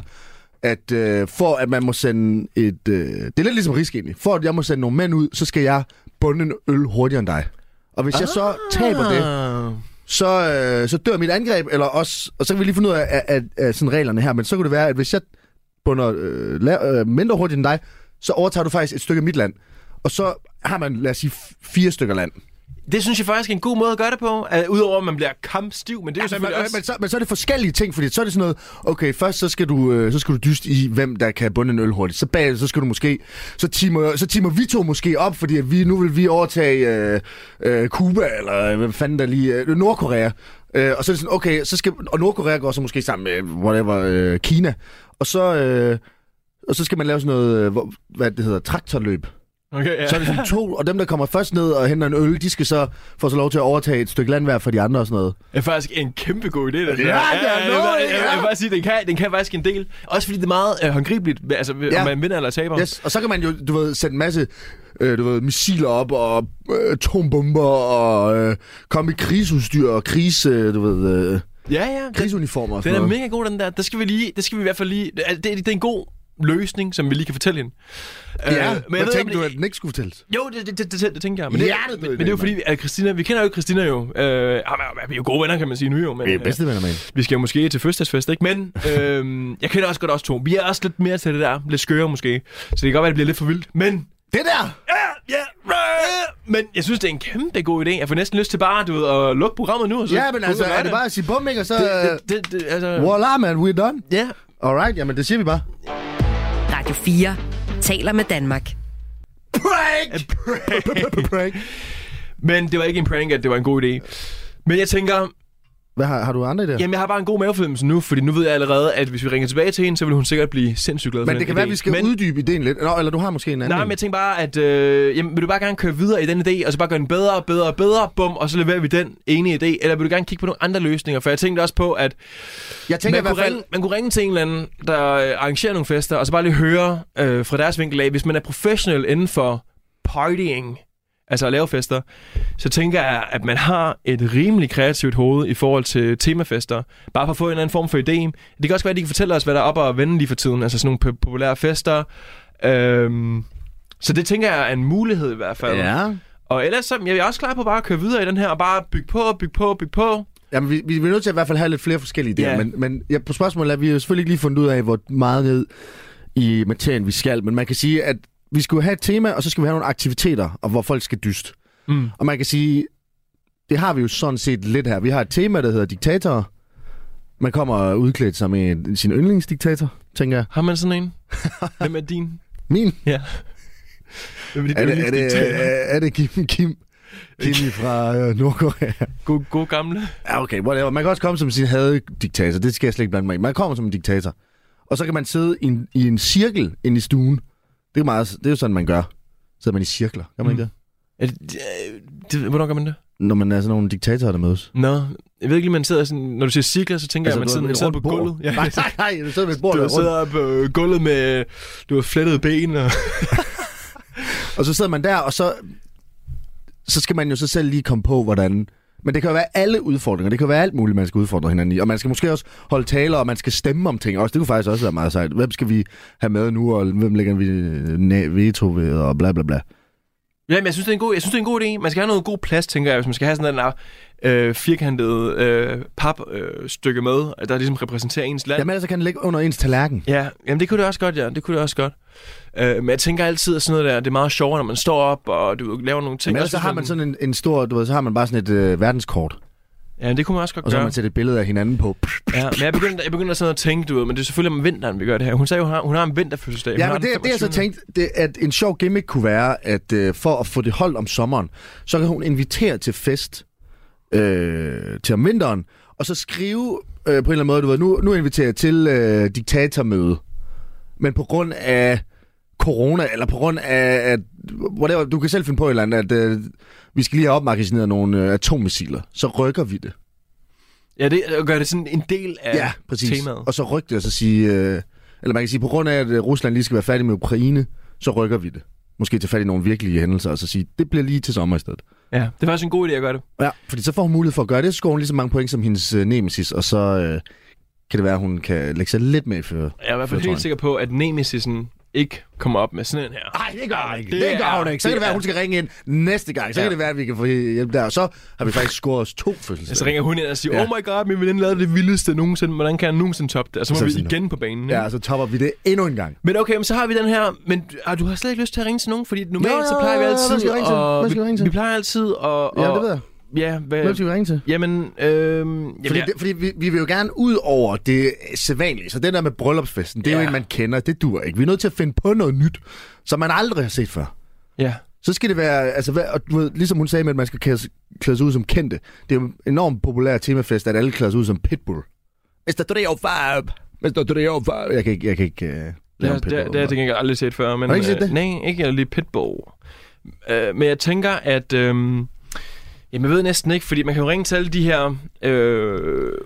at øh, for at man må sende et... Øh, det er lidt ligesom risk egentlig. For at jeg må sende nogle mænd ud, så skal jeg bunde en øl hurtigere end dig. Og hvis ah. jeg så taber det,
Ah.
så, øh, så dør mit angreb, eller også, og så kan vi lige finde ud af, af, af, af sådan reglerne her, men så kunne det være, at hvis jeg bunder øh, la- øh, mindre hurtigt end dig, så overtager du faktisk et stykke af mit land. Og så har man, lad os sige, f- fire stykker land.
Det synes jeg faktisk er en god måde at gøre det på. Uh, Udover at man bliver kampstiv, men det er jo
Men,
selvfølgelig også...
men, så, men så er det forskellige ting, fordi så er det sådan noget, okay, først så skal du, øh, så skal du dyste i, hvem der kan bunde en øl hurtigt. Så bagefter, så skal du måske, så timer, så timer vi to måske op, fordi at vi, nu vil vi overtage øh, øh, Cuba, eller øh, hvem fanden der lige, øh, Nordkorea. Øh, og så er det sådan, okay, så skal, og Nordkorea går så måske sammen med, whatever, øh, Kina. Og så, øh, og så skal man lave sådan noget, øh, hvor, hvad det hedder, traktorløb.
Okay, ja.
Så er det sådan to, og dem, der kommer først ned og henter en øl, de skal så få så lov til at overtage et stykke land hver for de andre og sådan noget.
Det er faktisk en kæmpe god idé, det der.
Ja, det er noget,
jeg, jeg,
ja.
jeg, jeg vil faktisk sige, den kan, den kan faktisk en del. Også fordi det er meget øh, håndgribeligt, hva- altså ja.
Ja.
om man vinder eller taber.
Yes, og så kan man jo, du ved, sætte en masse øh, du ved, missiler op, og øh, atombomber, og øh, komme i krigsudstyr, og krigs, øh, du ved, øh,
Ja, ja. Den,
krigsuniformer
den
og sådan
er
noget.
mega god, den der. Det skal vi lige, det skal vi i hvert fald lige... Det, det, det er en god løsning, som vi lige kan fortælle hende. Øh,
Ja, men jeg
ved,
Øh, tænkte
om
du,
det-
at den ikke skulle fortælles?
Jo, det, det, det, det, det tænker jeg. Men det,
Hjertet
men,
døde
men det er jo
den,
fordi, at Christina, vi kender jo Christina jo. Øh, ah, men vi er jo gode venner, kan man sige nu jo. Men, øh,
Vi er bedste venner med hende.
Vi skal jo måske til fødselsdagsfest, ikke? Men øhm, jeg kender også godt også to. Vi er også lidt mere til det der. Lidt skøre måske. Så det kan godt være, det bliver lidt for vildt. Men...
Det der!
Ja, ja, men jeg synes, det er en kæmpe god idé. Jeg får næsten lyst til bare, du ved, at lukke programmet nu. Og så
Ja, men
gå ud
altså,
og gøre
er det bare at sige bum, ikke? Og så...
Det, det, det, altså...
øh, Voila, man, we're done.
Ja.
Alright, jamen det siger vi bare.
Radio 4 taler med Danmark.
Prank! Prank!
Men det var ikke en prank, at det var en god idé. Men jeg tænker,
Hvad har, har du andre idéer?
jamen jeg har bare en god mavefornemmelse nu, fordi nu ved jeg allerede, at hvis vi ringer tilbage til hende, så vil hun sikkert blive sindssygt glad for
Men det
den
kan være,
idé.
at vi skal
men,
uddybe ideen lidt. Nå, eller du har måske en anden.
Nej,
en.
men jeg tænker bare, at øh, jamen, vil du bare gerne køre videre i den idé, og så bare gøre den bedre og bedre og bedre, bum, og så leverer vi den ene idé, eller vil du gerne kigge på nogle andre løsninger? For jeg tænkte også på, at
jeg tænker i
man,
hvert
kunne
fald...
ringe, man kunne ringe til en eller anden, der øh, arrangerer nogle fester, og så bare lige høre øh, fra deres vinkel af, hvis man er professionel inden for partying, altså at lave fester, så tænker jeg, at man har et rimelig kreativt hoved i forhold til temafester. Bare for at få en eller anden form for idé. Det kan også være, at de kan fortælle os, hvad der er op og vende lige for tiden. Altså sådan nogle po- populære fester. Øhm, så det tænker jeg er en mulighed i hvert fald.
Ja.
Og ellers så, jeg er også klar på bare at køre videre i den her, og bare bygge på, bygge på, bygge på.
Jamen, vi, vi, vi er nødt til at i hvert fald have lidt flere forskellige idéer,
Ja.
men, men ja, på spørgsmålet er vi jo selvfølgelig ikke lige fundet ud af, hvor meget ned i materien vi skal, men man kan sige, at vi skulle have et tema, og så skal vi have nogle aktiviteter, og hvor folk skal dyst.
Mm.
Og man kan sige, det har vi jo sådan set lidt her. Vi har et tema, der hedder diktatorer. Man kommer udklædt som en, sin yndlingsdiktator, tænker jeg.
Har man sådan en? Hvem er din?
Min.
Ja. Hvem
Er det, er det, er, er det Kim, Kim, Kim fra øh, Nordkorea?
God, god gamle.
Ja, okay, whatever. Man kan også komme som sin hadediktator. Det skal jeg slet ikke blande mig i. Man kommer som en diktator. Og så kan man sidde i en, i en cirkel inde i stuen. Det er, meget, det er jo sådan, man gør. Sidder man i cirkler. Gør man mm. ikke det?
Er det, øh, det, hvornår gør man det?
Når man er sådan nogle diktatorer, der mødes.
Nå, jeg ved ikke lige, man sidder sådan... Når du siger cirkler, så tænker altså, jeg, at man
du
sidder,
ved,
man
et
sidder på gulvet.
rundt bord. Nej, nej, nej. Du sidder ved et bord, der
du
er rundt.
sidder på øh, gulvet med du har flettet ben og...
Og så sidder man der, og så, så skal man jo så selv lige komme på, hvordan Men det kan jo være alle udfordringer. Det kan være alt muligt, man skal udfordre hinanden i. Og man skal måske også holde taler, og man skal stemme om ting også. Det kunne faktisk også være meget sejt. Hvem skal vi have med nu, og hvem lægger vi øh, næ- veto ved, og bla bla bla.
Ja, men jeg synes, det er en god, jeg synes, det er en god idé. Man skal have noget god plads, tænker jeg, hvis man skal have sådan en øh, firkantet øh, papstykke øh, stykke med, der ligesom repræsenterer ens land.
Jamen ellers så kan den ligge under ens tallerken.
Ja, jamen det kunne det også godt, ja. Det kunne det også godt. Øh, men jeg tænker altid, at sådan noget der, det er meget sjovere, når man står op og du ved, laver nogle ting.
Men ellers
Også
så
hvis
har man sådan en, en stor, du ved, så har man bare sådan et øh, verdenskort.
Ja, det kunne man også godt
Og så har
gøre.
man sættet et billede af hinanden på.
Ja, men jeg begyndte, jeg begyndte sådan at tænke, du ved, men det er selvfølgelig om vinteren, vi gør det her. Hun sagde jo, hun har, hun har en vinterfødselsdag. Hun
Ja,
øh, har
men det,
den
det jeg så
25..
tænkte, det, at en sjov gimmick kunne være, at øh, for at få det holdt om sommeren, så kan hun invitere til fest øh, til om vinteren, og så skrive øh, på en eller anden måde, du ved, nu, nu inviterer jeg til øh, diktatormøde, men på grund af corona, eller på grund af, at, whatever, du kan selv finde på et eller andet, at øh, vi skal lige have opmagasineret nogle øh, atommissiler, så rykker vi det.
Ja, det og gør det sådan en del af
Ja, præcis.
temaet.
Og så rykker det, og så sige, øh, eller man kan sige, på grund af, at øh, Rusland lige skal være færdig med Ukraine, så rykker vi det. Måske tage fat i nogle virkelige hændelser, og så sige, det bliver lige til sommer i stedet.
Ja, det er faktisk en god idé at gøre det.
Ja, fordi så får hun mulighed for at gøre det, så scorer hun lige så mange point som hendes øh, nemesis, og så øh, kan det være, at hun kan lægge sig lidt med for...
Jeg er i hvert fald
Det tror
helt
jeg.
sikker på, at Nemesisen ikke kommer op med sådan en her.
Nej, det gør hun ikke.
Det
Det, det gør hun
er-
ikke. Så kan det være, at hun skal ringe ind næste gang. Så
Ja.
ja. kan det være, at vi kan få hjælp der. Og så har vi faktisk scoret os to fødselsdage.
Så ringer hun ind og siger,
Ja.
oh my god, min veninde lavede det vildeste nogensinde. Hvordan kan jeg nogensinde toppe det? Og så må
Så
vi
sådan-
igen på banen. ikke?
Ja, og så topper vi det endnu en gang.
Men okay, men så har vi den her, men ah, du har slet ikke lyst til at ringe til nogen, fordi normalt
Jo, jo,
så plejer vi
jo, jo, hvad
altid
skal jeg ringe til? Hvad skal jeg ringe
vi,
til?
vi plejer altid at... Og,
Ja, det ved jeg.
Ja, hvad,
Hvem skal vi ringe til?
Jamen, øhm,
Fordi,
jamen
det, fordi vi, vi vil jo gerne ud over det sædvanlige. Så den der med bryllupsfesten, det er
Ja.
jo en, man kender. Det dur ikke. Vi er nødt til at finde på noget nyt, som man aldrig har set før.
ja, ja.
Så skal det være, altså, hvad, og du ved, ligesom hun sagde med, at man skal klæde, klæde sig ud som kendte. Det er jo en enormt populær temafest, at alle klæder sig ud som Pitbull. Mr. 305! Mr. 305! Jeg kan ikke, jeg kan ikke uh, lave
Det,
en
har-
Pitbull.
det, det har jeg til gengæld aldrig set før. Men,
Har du ikke set
øh,
det?
Nej, ikke jeg lige Pitbull. Øh, men jeg tænker, at... Øh, jamen, jeg ved næsten ikke, fordi man kan jo ringe til alle de her øh,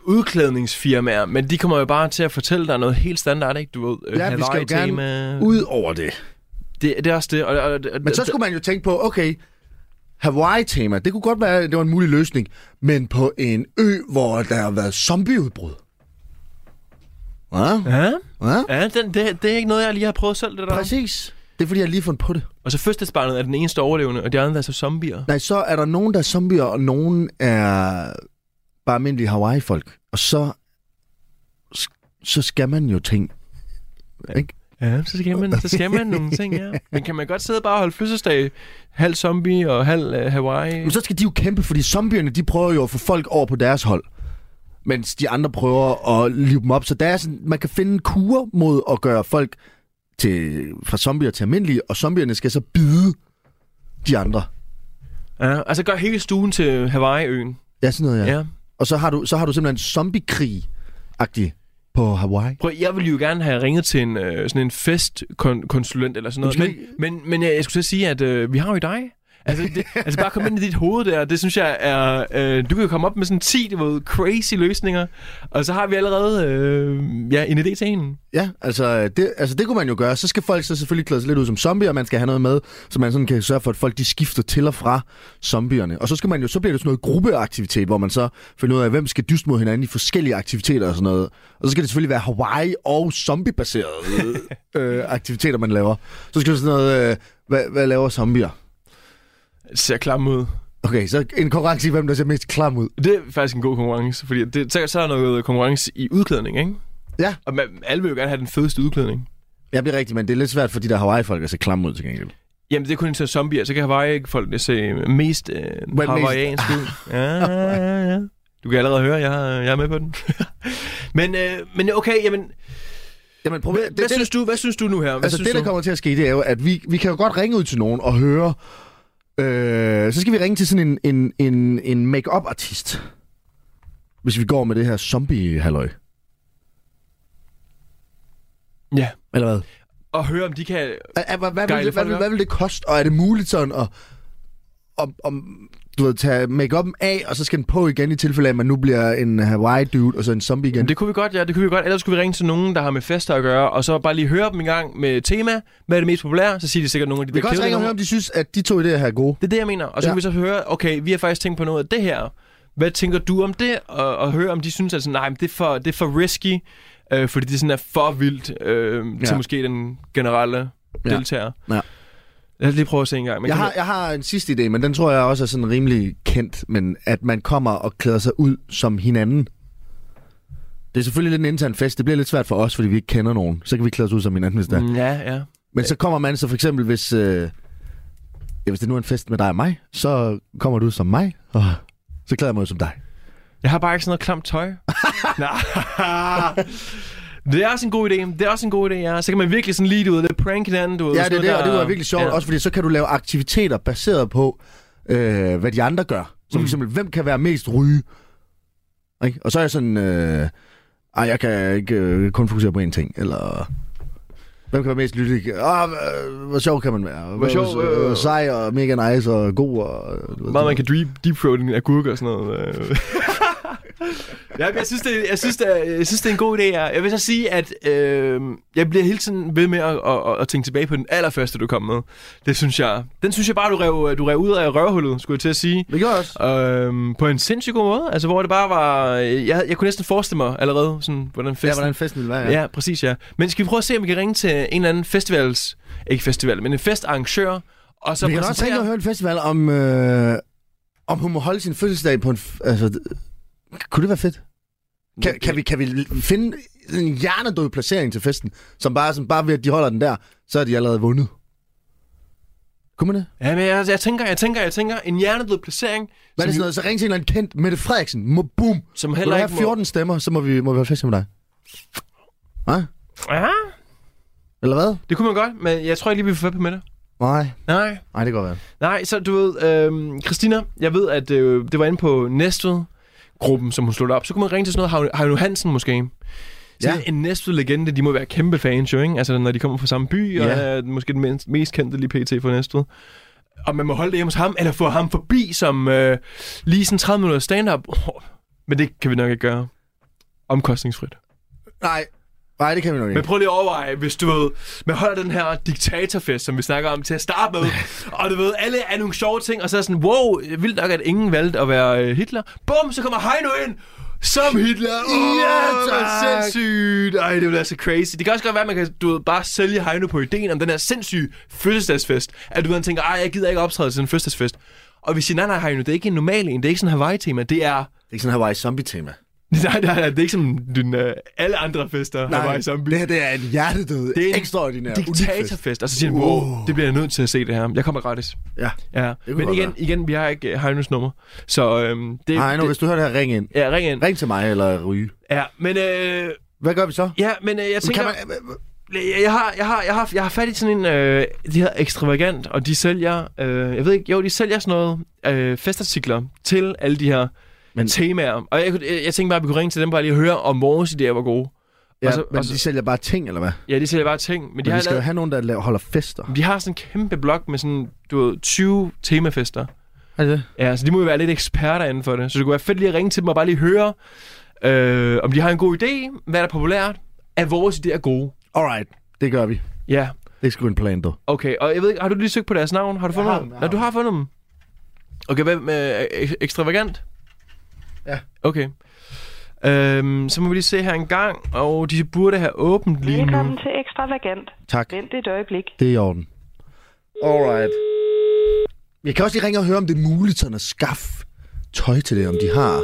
udklædningsfirmaer, men de kommer jo bare til at fortælle dig noget helt standard, ikke? Du ved, øh,
Ja, vi skal jo
Hawaii-tema.
gerne ud over det.
Det, det er også det. Og, og, og,
Men så skulle man jo tænke på, okay, Hawaii-tema, det kunne godt være, at det var en mulig løsning, men på en ø, hvor der har været zombieudbrud. Ja,
Ja,
ja,
ja den, det, det er ikke noget, jeg lige har prøvet selv, det der.
præcis. Det er fordi, jeg lige har fundet på det.
Og så fødselsbarnet er den eneste overlevende, og de andre er så zombier.
Nej, så er der nogen, der er zombier, og nogen er bare almindelige Hawaii-folk. Og så, så skal man jo ting. Ikke?
Ja, så skal man, så skal man nogle ting, ja. *laughs* Men kan man godt sidde bare og holde fødselsdag, halv zombie og halv øh, Hawaii?
Men så skal de jo kæmpe, fordi zombierne, de prøver jo at få folk over på deres hold. Mens de andre prøver at live dem op. Så der er sådan, man kan finde en kur mod at gøre folk til, fra zombier til almindelige, og zombierne skal så bide de andre.
Ja, altså gør hele stuen til Hawaii-øen.
Ja, sådan noget, ja.
Ja.
ja.
ja.
Og så har du, så har du simpelthen zombiekrig-agtig på Hawaii.
Prøv, jeg ville jo gerne have ringet til en, øh, sådan en festkonsulent eller sådan noget.
Jamen,
Men,
skal vi
men, men jeg, jeg skulle til at sige, at øh, vi har jo dig. Altså, det, altså bare komme ind i dit hoved der, det synes jeg er... Øh, du kan jo komme op med sådan 10 du ved, crazy løsninger, og så har vi allerede øh, ja, en idé til en.
Ja, altså det, altså det kunne man jo gøre. Så skal folk så selvfølgelig klæde sig lidt ud som zombier, og man skal have noget med, så man sådan kan sørge for, at folk de skifter til og fra zombierne. Og så, skal man jo, så bliver det sådan noget gruppeaktivitet, hvor man så finder ud af, hvem skal dyst mod hinanden i forskellige aktiviteter og sådan noget. Og så skal det selvfølgelig være Hawaii- og
*laughs*
zombiebaserede øh, aktiviteter, man laver. Så skal det sådan noget, øh, hvad, hvad laver zombier?
Det ser klam ud.
Okay, så en konkurrence i, hvem der ser mest klam ud.
Det er faktisk en god konkurrence, fordi det, så, så er der noget konkurrence i udklædning, ikke?
Ja.
Og man, alle vil jo gerne have den fedeste udklædning.
Ja, det er rigtigt, men det er lidt svært for de der Hawaii-folk at se klam ud til gengæld.
Jamen, det er kun til zombier, så kan Hawaii-folkene se mest øh,
mest-
hawaiiansk
*laughs*
ud. Ja, ja, ja, ja. Du kan allerede høre, jeg, jeg er med på den. *laughs* men, øh, men okay, jamen,
Jamen,
hvad, det, hvad, synes du, hvad synes du nu her? Hvad
Altså
synes
det, der
du?
kommer til at ske, det er jo, at vi, vi kan jo godt ringe ud til nogen og høre... Øh, så skal vi ringe til sådan en, en, en, en make-up-artist. Hvis vi går med det her zombie-halløj.
Ja,
Eller hvad?
og høre, om de kan...
Hvad, hvad, hvad,
Gejle
vil, det, hvad,
folk
vil,
op.
hvad vil det koste? Og er det muligt sådan at om, om, du ved, tage make af, og så skal den på igen i tilfælde af, at man nu bliver en Hawaii-dude og så en zombie igen?
Jamen, det kunne vi godt, ja, det kunne vi godt. Ellers skulle vi ringe til nogen, der har med fester at gøre, og så bare lige høre dem en gang med tema. Hvad er det mest populære? Så siger de sikkert nogle af de
vi
der
kan også
kedelige
ringe og
numre.
høre, om de synes, at de to idéer her er gode.
Det er det, jeg mener. Og så ja.
Ja.
kan vi så høre, okay, vi har faktisk tænkt på noget af det her. Hvad tænker du om det? Og, og høre, om de synes, at sådan, nej, men det, er for, det er for risky, øh, fordi det sådan er for vildt øh, ja. til
Ja.
måske den generelle
Ja.
deltager.
Ja.
Lad os lige prøve at se en gang. Men
Jeg
kan
har, jeg har en sidste idé, men den tror jeg også er sådan rimelig kendt, men at man kommer og klæder sig ud som hinanden. Det er selvfølgelig lidt en intern fest. Det bliver lidt svært for os, fordi vi ikke kender nogen. Så kan vi klæde os ud som hinanden, hvis det er.
man- Mm, ja, ja.
Men så kommer man så for eksempel, hvis, øh, ja, hvis det nu er en fest med dig og mig, så kommer du som mig, og så klæder jeg mig ud som dig.
Jeg har bare ikke sådan noget klamt
*laughs*
tøj. Nej. Det er også en god idé. Det er også en god idé, ja. Så kan man virkelig sådan lige, du ved, lidt prank hinanden. Du ved,
Ja, det
sådan
er det,
noget,
og det var virkelig sjovt,
Ja.
ja. også fordi så kan du lave aktiviteter baseret på, øh, hvad de andre gør. Som mm. eksempel, hvem kan være mest ryge? Ikke? Og så er jeg sådan, øh, ej, jeg kan ikke øh, kun fokusere på én ting, eller... Hvem kan være mest lyttig? Ah, øh, hvor sjov kan man være? Hvor,
sjov,
øh,
øh.
sej og mega nice og god og... øh, du ved,
Meget man kan deep, deep throat en agurk og sådan noget. øh. *laughs* ja, men jeg synes, det, jeg, synes, det, er- jeg synes, det er en god idé. Ja. Jeg vil så sige, at øh, jeg bliver hele tiden ved med at, at, at, at tænke tilbage på den allerførste, du kom med. Det synes jeg. Den synes jeg bare, du rev, du rev ud af røvhullet, skulle jeg til at sige.
Det gjorde jeg også.
Øhm, på en sindssygt god måde. Altså, hvor det bare var... Jeg, jeg kunne næsten forestille mig allerede, sådan, hvordan festen...
Ja, hvordan festen ville være, ja.
Ja. ja, præcis, ja. Men skal vi prøve at se, om vi kan ringe til en eller anden festivals... Ikke festival, men en festarrangør, og så
vi kan også
præsentere-
tænke at høre en festival om, øh, om hun må holde sin fødselsdag på en... F- altså, d- kunne det være fedt? Kan, kan, vi, kan vi finde en hjernedød placering til festen, som bare, er sådan, bare ved at de holder den der, så er de allerede vundet? Kunne man det?
Ja, men jeg, jeg tænker, jeg tænker, jeg tænker, en hjernedød placering,
Hvad er det
som,
sådan noget? Så ring til en eller anden kendt, Mette Frederiksen, må boom.
som
Vil du
heller
have
ikke
14 stemmer, så må vi, må vi holde fest med dig. Hvad?
Må... Ja,
Eller hvad?
det kunne man godt, men jeg tror ikke lige, vi får fat på med det.
Nej.
Nej.
Nej, det kan godt være.
Nej, så du ved, øh, Christina, jeg ved, at øh, det var inde på Næstved, gruppen, som hun slog op, så kunne man ringe til sådan noget Havn Hansen måske. Så
Ja.
ja. en næste legende, de må være kæmpe fans jo, ikke? Altså, når de kommer fra samme by, og
Ja.
er måske den mest, mest kendte lige pt. for næste. Og man må holde det hjemme hos ham, eller få ham forbi som øh, lige sådan 30 minutter stand-up. Oh, men det kan vi nok ikke gøre. Omkostningsfrit.
Nej. Nej, det kan vi nok
Men
ikke.
prøv lige at overveje, hvis du ved, man holder den her diktatorfest, som vi snakker om til at starte *laughs* med, og du ved, alle er nogle sjove ting, og så er sådan, wow, vildt nok, at ingen valgte at være øh, Hitler. Bum, så kommer Heino ind, som Hitler. Åh,
Ja,
hvor
tak.
sindssygt. Ej, det ville være så crazy. Det kan også godt være, at man kan du ved, bare sælge Heino på ideen om den her sindssyge fødselsdagsfest. At du ved, han tænker, ej, jeg gider ikke optræde til en fødselsdagsfest. Og vi siger, nej, nej, Heino, det er ikke en normal en. Det er ikke sådan en Hawaii-tema. Det er... *laughs*
Det er ikke sådan her Hawaii-zombie-tema.
Nej, nej, nej, det er ikke som den, øh, alle andre fester.
Nej,
Hawaii-zombie.
det her det er en hjertedød,
Det er en
ekstraordinær, unik fest.
Diktatorfest. Og så siger han, wow, det bliver jeg nødt til at se det her. Jeg kommer gratis.
Ja.
Ja.
kunne
Men
godt
igen,
være.
igen, vi har ikke øh, Heinos nummer. Så øhm, det,
Nej, nu,
det,
hvis du hører det her, ring ind.
Ja, ring ind.
Ring til mig eller ryge.
Ja, men, øh,
Hvad gør vi så?
ja, men øh, jeg tænker...
Kan man,
Jeg, jeg, har, jeg, har, jeg, har, jeg har fat i sådan en... Øh, de hedder Extravagant, og de sælger... Øh, jeg ved ikke... Jo, de sælger sådan noget øh, festartikler til alle de her men,
Men-
temaer. Og jeg, kunne- jeg, jeg tænkte bare, at vi kunne ringe til dem bare lige og høre, om vores idéer var gode.
ja,
og så-
men
og så-
de sælger bare ting, eller hvad?
Ja, Altså, de sælger bare ting. Men de
Men
har
vi skal jo
lavet,
have nogen, der laver, holder fester.
de har sådan en kæmpe blok med sådan, du ved, 20 temafester.
Er det det?
Ja, så de må jo være lidt eksperter inden for det. Så det kunne være fedt lige at ringe til dem og bare lige høre, øh, om de har en god idé, hvad der er populært, er vores idéer gode.
Alright, det gør vi.
Ja,
Det er sgu en plan, du.
okay. Og jeg ved ikke, har du lige søgt på deres navn? Har du fundet
har
dem?
dem, jeg
Nå,
har
du har fundet dem. Okay, hvad med øh, ek- ekstravagant?
Ja.
Okay. Øhm, så må vi lige se her en gang, og de burde have åbent lige nu.
Velkommen til Ekstravagant.
Tak,
Vent et øjeblik.
det er i orden. Alright. Jeg kan også lige ringe og høre, om det er muligt sådan at skaffe tøj til det, om de har.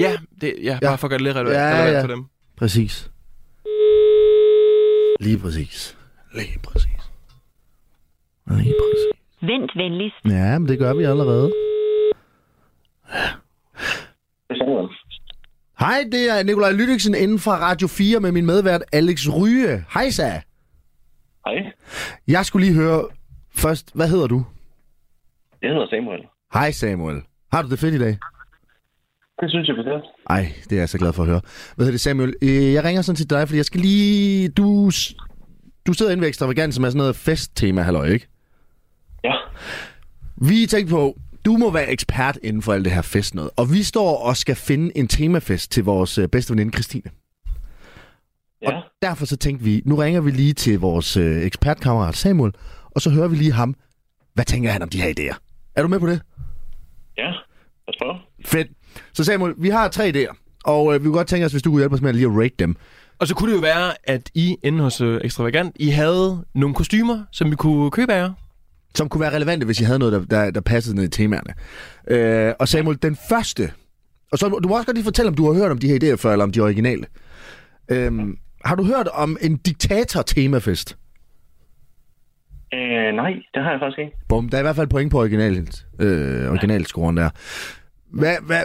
Ja, det, ja, bare for at gøre det lidt relevant,
Ja,
relevant
ja.
for dem.
Præcis. Lige præcis. Lige præcis. Lige præcis.
Vent venligst.
Ja, men det gør vi allerede. Hej, det er Nikolaj Lydiksen inden fra Radio 4 med min medvært Alex Ryge. Hej, så.
Hej,
Jeg skulle lige høre først, hvad hedder du?
jeg hedder Samuel.
Hej Samuel. Har du det fedt i dag?
Det synes jeg bestemt.
Ej, det er jeg så glad for at høre. Hvad hedder det, Samuel? Øh, jeg ringer sådan til dig, fordi jeg skal lige... Du, s- du sidder inde ved Extravagant, som er sådan noget festtema, halløj, ikke?
Ja,
Vi tænkte på, du må være ekspert inden for alt det her fest noget. Og vi står og skal finde en temafest til vores øh, bedste veninde, Christine.
ja.
Derfor så tænkte vi, nu ringer vi lige til vores øh, ekspertkammerat Samuel, og så hører vi lige ham. Hvad tænker han om de her idéer? Er du med på det?
ja. Lad os prøve.
Fedt. Så Samuel, vi har tre idéer, og øh, vi kunne godt tænke os, hvis du kunne hjælpe os med lige at rate dem.
Og så kunne det jo være, at I inde hos øh, Extravagant, I havde nogle kostymer, som vi kunne købe af jer.
som kunne være relevante, hvis I havde noget, der, der, der passede ned i temaerne. Øh, og Samuel, den første... Og så, du må også godt lige fortælle, om du har hørt om de her idéer før, eller om de er originale. Øhm, har du hørt om en diktator-temafest?
Øh, nej, det har jeg faktisk ikke.
Bum, der er i hvert fald point på originalt, øh, originalscoren der. Hvad, hvad,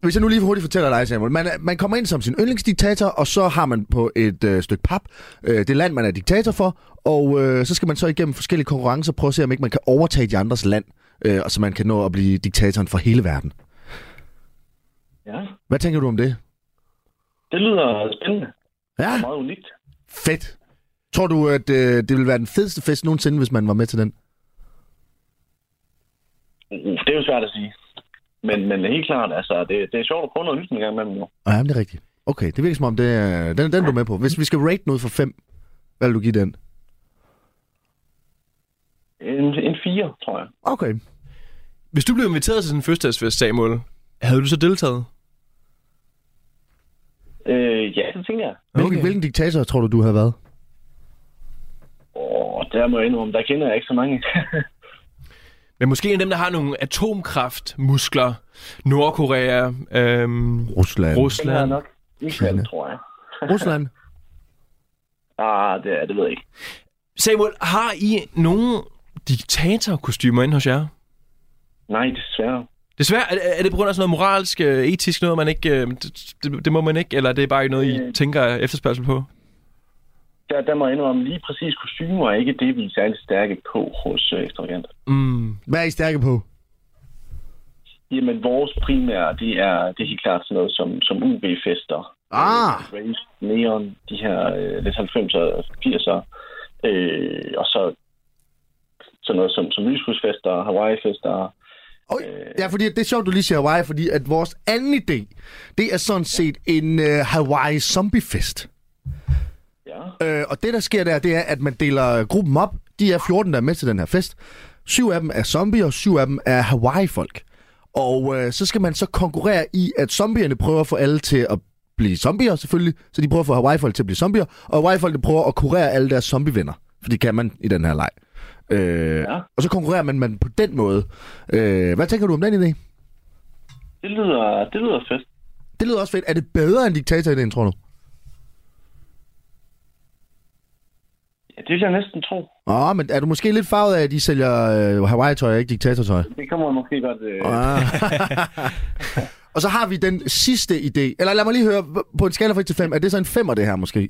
hvis jeg nu lige hurtigt fortæller dig, Samuel. Man, er- man kommer ind som sin yndlingsdiktator, og så har man på et øh, stykke pap øh, det land, man er diktator for, og øh, så skal man så igennem forskellige konkurrencer prøve at se, om ikke man kan overtage de andres land, øh, og så man kan nå at blive diktatoren for hele verden.
Ja.
Hvad tænker du om det?
Det lyder spændende.
Ja,
Meget unikt.
fedt. Tror du, at øh, det ville være den fedeste fest nogensinde, hvis man var med til den?
Uh, det er jo svært at sige. Men, men helt klart, altså, det, det er sjovt at prøve noget nyt en gang imellem nu.
Ja, men det er rigtigt. Okay, det virker som om, det er, den, den er du med på. Hvis vi skal rate noget for 5, hvad vil du give den?
En, en fire, tror jeg.
Okay.
Hvis du blev inviteret til sådan en fødselsdagsfest, Samuel, havde du så deltaget?
Øh, ja, det tænker jeg.
Hvilken, okay. hvilken diktator tror du, du havde været?
Åh, der må jeg indrømme, der kender jeg ikke så mange.
Men måske en af dem, der har nogle atomkraftmuskler. Nordkorea, øhm,
Rusland.
det er
Rusland.
nok. Island, tror jeg.
Rusland.
Ah, det, er- det ved jeg ikke.
Samuel, har I nogle diktatorkostymer inde hos jer?
Nej, desværre.
Desværre, er, er det på grund af sådan noget moralsk, øh, etisk noget, man ikke, øh, det, det- det må man ikke, eller det er bare ikke noget,
Øh.
I tænker er efterspørgsel på?
Der, der må jeg indrømme, lige præcis kostymer er ikke det, vi er særlig stærke på hos øh, ekstravagant.
Mm.
Hvad er I stærke på?
Jamen, vores primære, det er, det er helt klart sådan noget som, som UV-fester.
Ah,
Race, Neon, de her øh, lidt 90'er og 80'er. Øh, og så sådan noget som, som lyshusfester, Hawaii-fester.
Oj, ja, fordi det er sjovt, du lige siger Hawaii, fordi at vores anden idé, det er sådan set en øh, Hawaii zombiefest.
Ja,
Øh, og det, der sker der, det er, at man deler gruppen op. De er 14, der er med til den her fest. Syv af dem er zombier, og syv af dem er Hawaii-folk. Og øh, så skal man så konkurrere i, at zombierne prøver at få alle til at blive zombier, selvfølgelig. Så de prøver at få Hawaii-folk til at blive zombier. Og Hawaii-folk prøver at kurere alle deres zombievenner. For det kan man i den her leg. Øh, ja.
Ja.
Og så konkurrerer man, man på den måde. Øh, hvad tænker du om den idé?
det lyder, det lyder fedt.
Det lyder også fedt. Er det bedre end diktatordelen, tror du?
Ja, det vil jeg næsten tro.
Åh, men er du måske lidt farvet af, at de sælger øh, Hawaii-tøj og ikke diktatortøj?
Det kommer jeg måske godt... Øh,
Og så har vi den sidste idé. Eller lad mig lige høre, h- på en skala fra 1 til 5, er det så en femmer det her måske?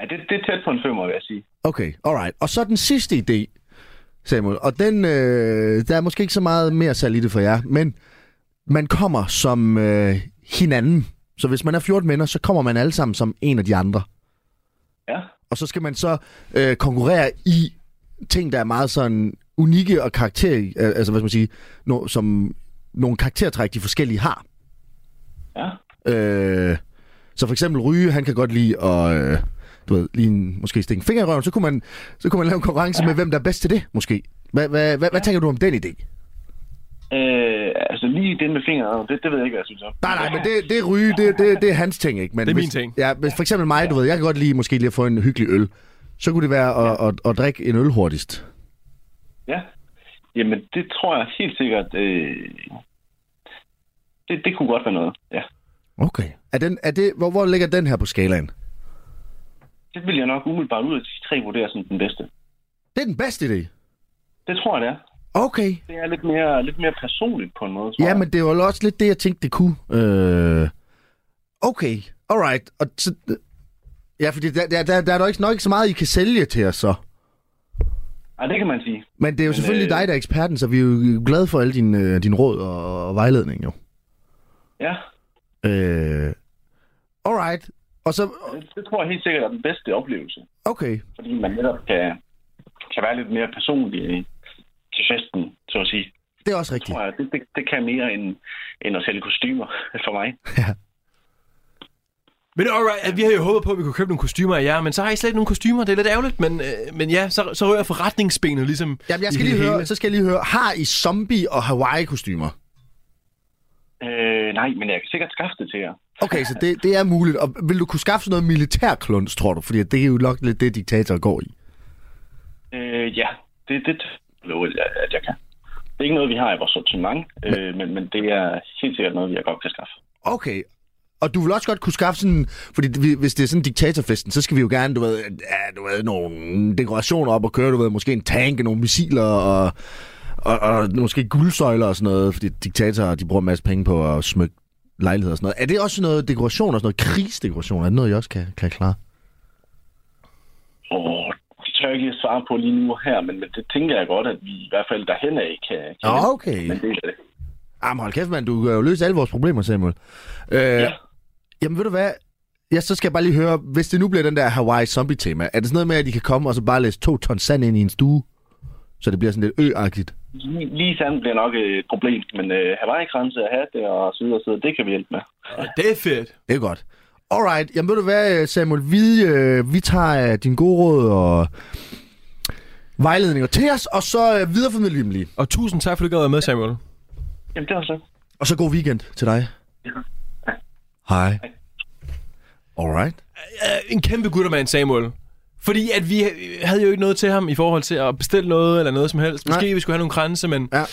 ja, det, det er tæt på en femmer, vil jeg sige.
Okay, alright. Og så den sidste idé, Samuel. Og den, øh, der er måske ikke så meget mere salg i det for jer, men man kommer som øh, hinanden. Så hvis man er 14 venner, så kommer man alle sammen som en af de andre.
Ja,
Og så skal man så øh, konkurrere i ting, der er meget sådan unikke og karakter, øh, altså hvad skal man sige, no, som nogle karaktertræk, de forskellige har.
ja.
Øh, så for eksempel Ryge, han kan godt lide at, øh, du ved, lige en, måske stikke en finger i røven, så kunne man, så kunne man lave en konkurrence ja. med, hvem der er bedst til det, måske. Hvad, hvad, hvad, hvad tænker du om den idé?
Øh, altså lige det med fingeren, det, det ved jeg ikke, hvad jeg synes om.
Nej, nej, men det, det er Ryge, det, det, det er hans ting, ikke? Men
Det er min
hvis,
ting.
Ja, hvis for eksempel mig, du ved, jeg kan godt lide måske lige at få en hyggelig øl. Så kunne det være at, at, at drikke en øl hurtigst.
Ja. Jamen, det tror jeg helt sikkert... Øh, det, det kunne godt være noget, ja.
Okay. Er den, er det, hvor, hvor ligger den her på skalaen?
Det vil jeg nok umiddelbart ud af de tre vurdere som den bedste.
Det er den bedste idé.
Det tror jeg, det er.
Okay.
Det er lidt mere, lidt mere personligt på en måde, tror
Ja,
jeg.
men det var også lidt det, jeg tænkte, det kunne. Øh... Okay, alright. Og så... Ja, fordi der, der, der, der er dog ikke, nok ikke så meget, I kan sælge til os så.
Ej, det kan man sige.
Men det er jo Men, selvfølgelig øh...
øh,
dig, der er eksperten, så vi er jo glade for alle dine, øh, dine råd og, og vejledning, jo.
Ja,
Øh... Alright. Og så...
det, det tror jeg helt sikkert er den bedste oplevelse.
Okay.
Fordi man netop kan, kan være lidt mere personlig i- til festen, så at sige.
Det er også rigtigt.
Tror jeg, det, det, det kan mere end, end at sælge kostymer for mig.
Men alright, vi havde jo håbet på, at vi kunne købe nogle kostymer af jer, men så har I slet ikke nogen kostymer, det er lidt ærgerligt, men, øh, men ja, så, så rører jeg forretningsbenet ligesom
Jamen, jeg
i
skal
det
lige
hele.
høre, så skal jeg lige høre, har I zombie- og Hawaii-kostymer?
Øh, nej, men jeg kan sikkert skaffe det til jer.
Okay, så det, det er muligt. Og vil du kunne skaffe sådan noget militærklunds, tror du? Fordi det er jo nok lidt det, diktatorer går i.
Øh, ja, det det lover jeg, at jeg kan. Det er ikke noget, vi har i vores sortiment, øh, men, men det er helt sikkert noget, jeg godt kan skaffe.
Okay. Og du vil også godt kunne skaffe sådan... Fordi vi- hvis det er sådan diktatorfesten, så skal vi jo gerne, du ved, ja, du ved nogle dekorationer op og køre, du ved, måske en tank, nogle missiler og, og, og måske guldsøjler og sådan noget. Fordi diktatorer, de bruger en masse penge på at smykke lejligheder og sådan noget. Er det også sådan noget dekoration og sådan noget krigsdekoration? Er det noget, I også kan, kan klare?
Og det tør jeg ikke lige svare på lige nu og her, men, men det tænker jeg godt, at vi i hvert fald derhen af kan, kan
Nå, okay.
en del af det.
Jamen hold kæft, mand. Du har jo løst alle vores problemer, Samuel. Øh, ja. Jamen ved du hvad? Ja, så skal jeg bare lige høre, hvis det nu bliver den der Hawaii zombie-tema, er det sådan noget med, at de kan komme og så bare læse to ton sand ind i en stue? Så det bliver sådan lidt ø-agtigt.
Lige- Lige sand bliver nok øh, et problem, men øh, Hawaii-grænse at have det og så videre, så videre, det kan vi hjælpe med.
Ja, det er fedt.
Det er godt. Alright, jamen ved du hvad, Samuel, vi, øh, vi tager øh, dine gode råd og vejledninger til os, og så øh, videreformidler vi dem lige.
Og tusind tak, fordi du gad at være med, Samuel.
Jamen, det var så.
Og så god weekend til dig. Hej. Alright.
Øh, En kæmpe guttermand, Samuel. Fordi at vi øh, havde jo ikke noget til ham i forhold til at bestille noget eller noget som helst. Måske
Nej.
vi skulle have nogle kranse, men,
Ja.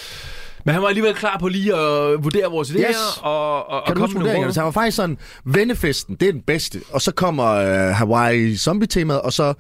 men han var alligevel klar på lige at vurdere vores idéer
Yes.
og, og,
Kan
og
du
komme med
huske
nogle
vurderingerne?
råd.
Så han var faktisk sådan, vennefesten, det er den bedste. Og så kommer øh, Hawaii zombie-temaet, og så...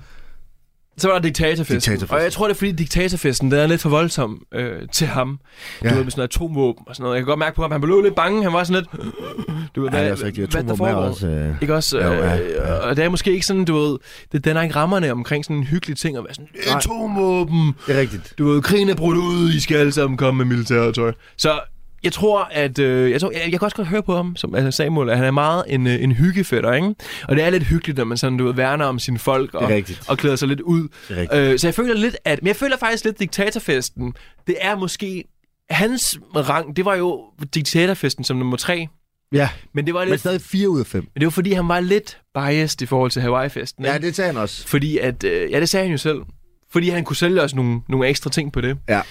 Så var der diktatorfesten.
Diktatorfesten.
Og jeg tror, det er fordi diktatorfesten, den er lidt for voldsom øh, til ham. Ja.
Ja.
Du ved, med sådan noget atomvåben og sådan noget. Jeg kan godt mærke på ham, han blev lidt bange. Han var sådan lidt... *clears throat* Du ved,
Ja, det er også rigtigt.
hvad der
Atomvåben er
foregår.
også, øh,
Ikke også?
jo,
Øh,
ja, ja.
Og det er måske ikke sådan, du ved... Det den er ikke rammerne omkring sådan en hyggelig ting at være sådan...
Nej.
Atomvåben!
Det er rigtigt.
Du ved, krigen er brudt ud. I skal alle sammen komme med militærtøj. Så jeg tror, at... Øh, jeg, tror, jeg, jeg kan også godt høre på ham, som altså Samuel, at han er meget en, øh, en hyggefætter, ikke? Og det er lidt hyggeligt, når man sådan, du ved, værner om sine folk og,
rigtigt.
og klæder sig lidt ud.
Det er rigtigt.
Øh, så jeg føler lidt, at... Men jeg føler faktisk lidt, at diktatorfesten, det er måske... Hans rang, det var jo diktatorfesten som nummer tre.
Ja,
Men det var
men
lidt...
stadig 4 ud af 5.
Men det var fordi, han var lidt biased i forhold til Hawaii-festen.
Ja,
ikke?
det tager han også.
Fordi at... Øh, ja, det sagde han jo selv. Fordi han kunne sælge os nogle, nogle ekstra ting på det.
Ja.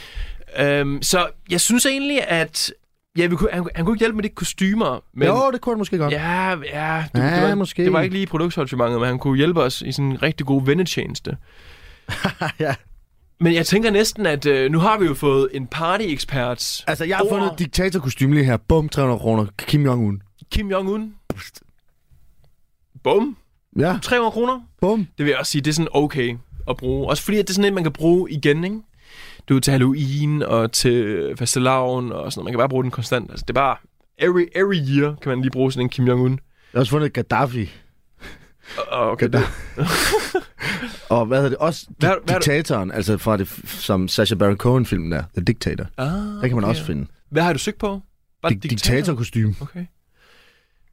Øhm, så jeg synes egentlig, at... Ja, vi kunne, han, han kunne ikke hjælpe med de kostymer, men...
Men... Jo, det kunne han måske godt.
Ja,
Ja.
ja, det,
Ja,
det, var,
måske.
det var ikke lige i produktsortimentet, men han kunne hjælpe os i sådan en rigtig god vennetjeneste.
ja.
Men jeg tænker næsten, at øh, nu har vi jo fået en party-ekspert.
Altså, jeg har
over
fundet diktatorkostyme lige her. Bum, 300 kroner. Kim Jong-un.
Kim Jong-un. Bum.
Ja,
300 kroner.
bum.
Det vil jeg også sige, det er sådan okay at bruge. Også fordi, at det er sådan et, man kan bruge igen, ikke? Du er til Halloween og til fastelavn og sådan noget. Man kan bare bruge den konstant. Altså, det er bare... Every, every year kan man lige bruge sådan en Kim Jong-un.
Jeg har også fundet Gaddafi.
Og, okay, det,
*laughs* Og hvad hedder det? Også di-
Hvad- hvad-
diktatoren, altså fra det, f- som Sacha Baron Cohen-filmen der. The Dictator.
ah,
Der kan man
okay.
også finde.
Hvad har du søgt på? Bare
Di- diktatorkostyme.
Okay.
Det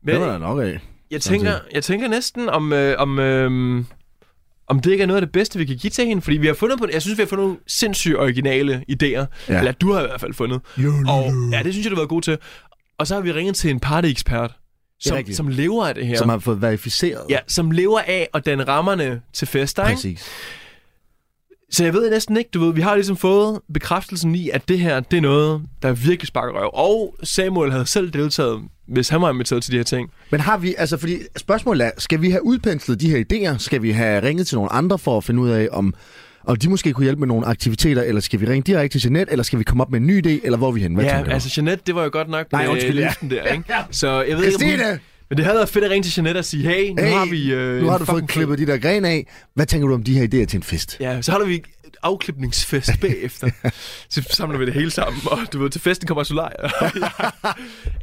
Men,
var der nok af.
jeg, tænker, jeg tænker næsten, om, øh, om, øh, om det ikke er noget af det bedste, vi kan give til hende. Fordi vi har fundet på, jeg synes, vi har fundet nogle sindssygt originale idéer. Ja.
Ja.
Eller du har i hvert fald fundet. Og, ja, det synes jeg, du har været god til. Og så har vi ringet til en partyekspert, som,
rigtigt.
som lever af det her.
Som har fået verificeret.
Ja, som lever af at danne rammerne til fester, ikke?
Præcis.
Så jeg ved næsten ikke, du ved, vi har ligesom fået bekræftelsen i, at det her, det er noget, der virkelig sparker røv. Og Samuel havde selv deltaget, hvis han var inviteret til de her ting.
Men har vi, altså fordi spørgsmålet er, skal vi have udpenslet de her idéer? Skal vi have ringet til nogle andre for at finde ud af, om, om de måske kunne hjælpe med nogle aktiviteter? Eller skal vi ringe direkte til Jeanette? Eller skal vi komme op med en ny idé? Eller hvor er vi hen? Hvad
ja,
tænker du?
altså Jeanette, det var jo godt nok
Nej,
øh,
undskyld, ja.
listen der, ikke? Så jeg ved ikke, om hun...
Christine!
Men det havde været fedt at ringe til Jeanette og sige, hey, nu
Hey,
har vi... Øh,
nu har
en
du fået
fucking
klippet de der grene af. Hvad tænker du om de her idéer til en fest?
Ja, så holder vi et afklipningsfest
*laughs*
bagefter. så samler vi det hele sammen, og du ved, til festen kommer
*laughs*
solarier.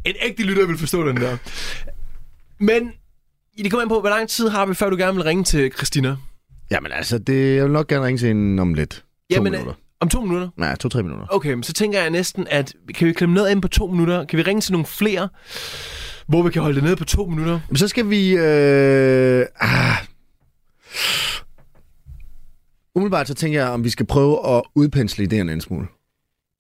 en ægte lytter vil forstå den der. Men det kommer an på, hvor lang tid har vi, før du gerne vil ringe til Christina?
Jamen altså, det, jeg vil nok gerne ringe til en om lidt. To
Jamen, øh,
minutter.
Om to minutter?
Nej, to-tre minutter.
Okay, men så tænker jeg næsten, at kan vi klemme noget ind på to minutter? Kan vi ringe til nogle flere, hvor vi kan holde det nede på to minutter?
Men så skal vi... Øh, ah. Umiddelbart så tænker jeg, om vi skal prøve at udpensle idéerne en smule.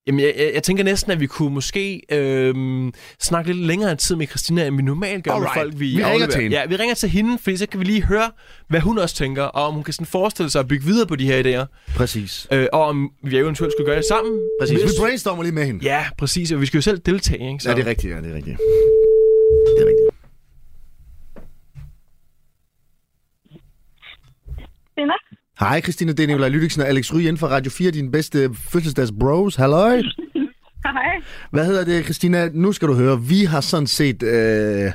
Jamen, jeg, jeg, jeg tænker næsten, at vi kunne måske øhm, snakke lidt længere tid med Christina, end vi normalt gør
Alright.
med folk, vi,
Vi ringer
afleverer.
til hende.
Ja, vi ringer til hende, fordi så kan vi lige høre, hvad hun også tænker, og om hun kan sådan forestille sig at bygge videre på de her idéer,
Præcis.
øh, og om vi eventuelt skulle gøre det sammen.
Præcis.
Hvis-
Vi brainstormer lige med hende.
Ja, præcis, og vi skal jo selv deltage, ikke? Så.
Ja, det er rigtigt, ja, det er rigtigt. Det er rigtigt.
Tina?
Hej Christina, det er Nicolaj Lydiksen og Alex Ry inden for Radio 4, din bedste fødselsdags bros. Halløj.
Hej.
Hvad hedder det, Christina? Nu skal du høre, vi har sådan set... Øh...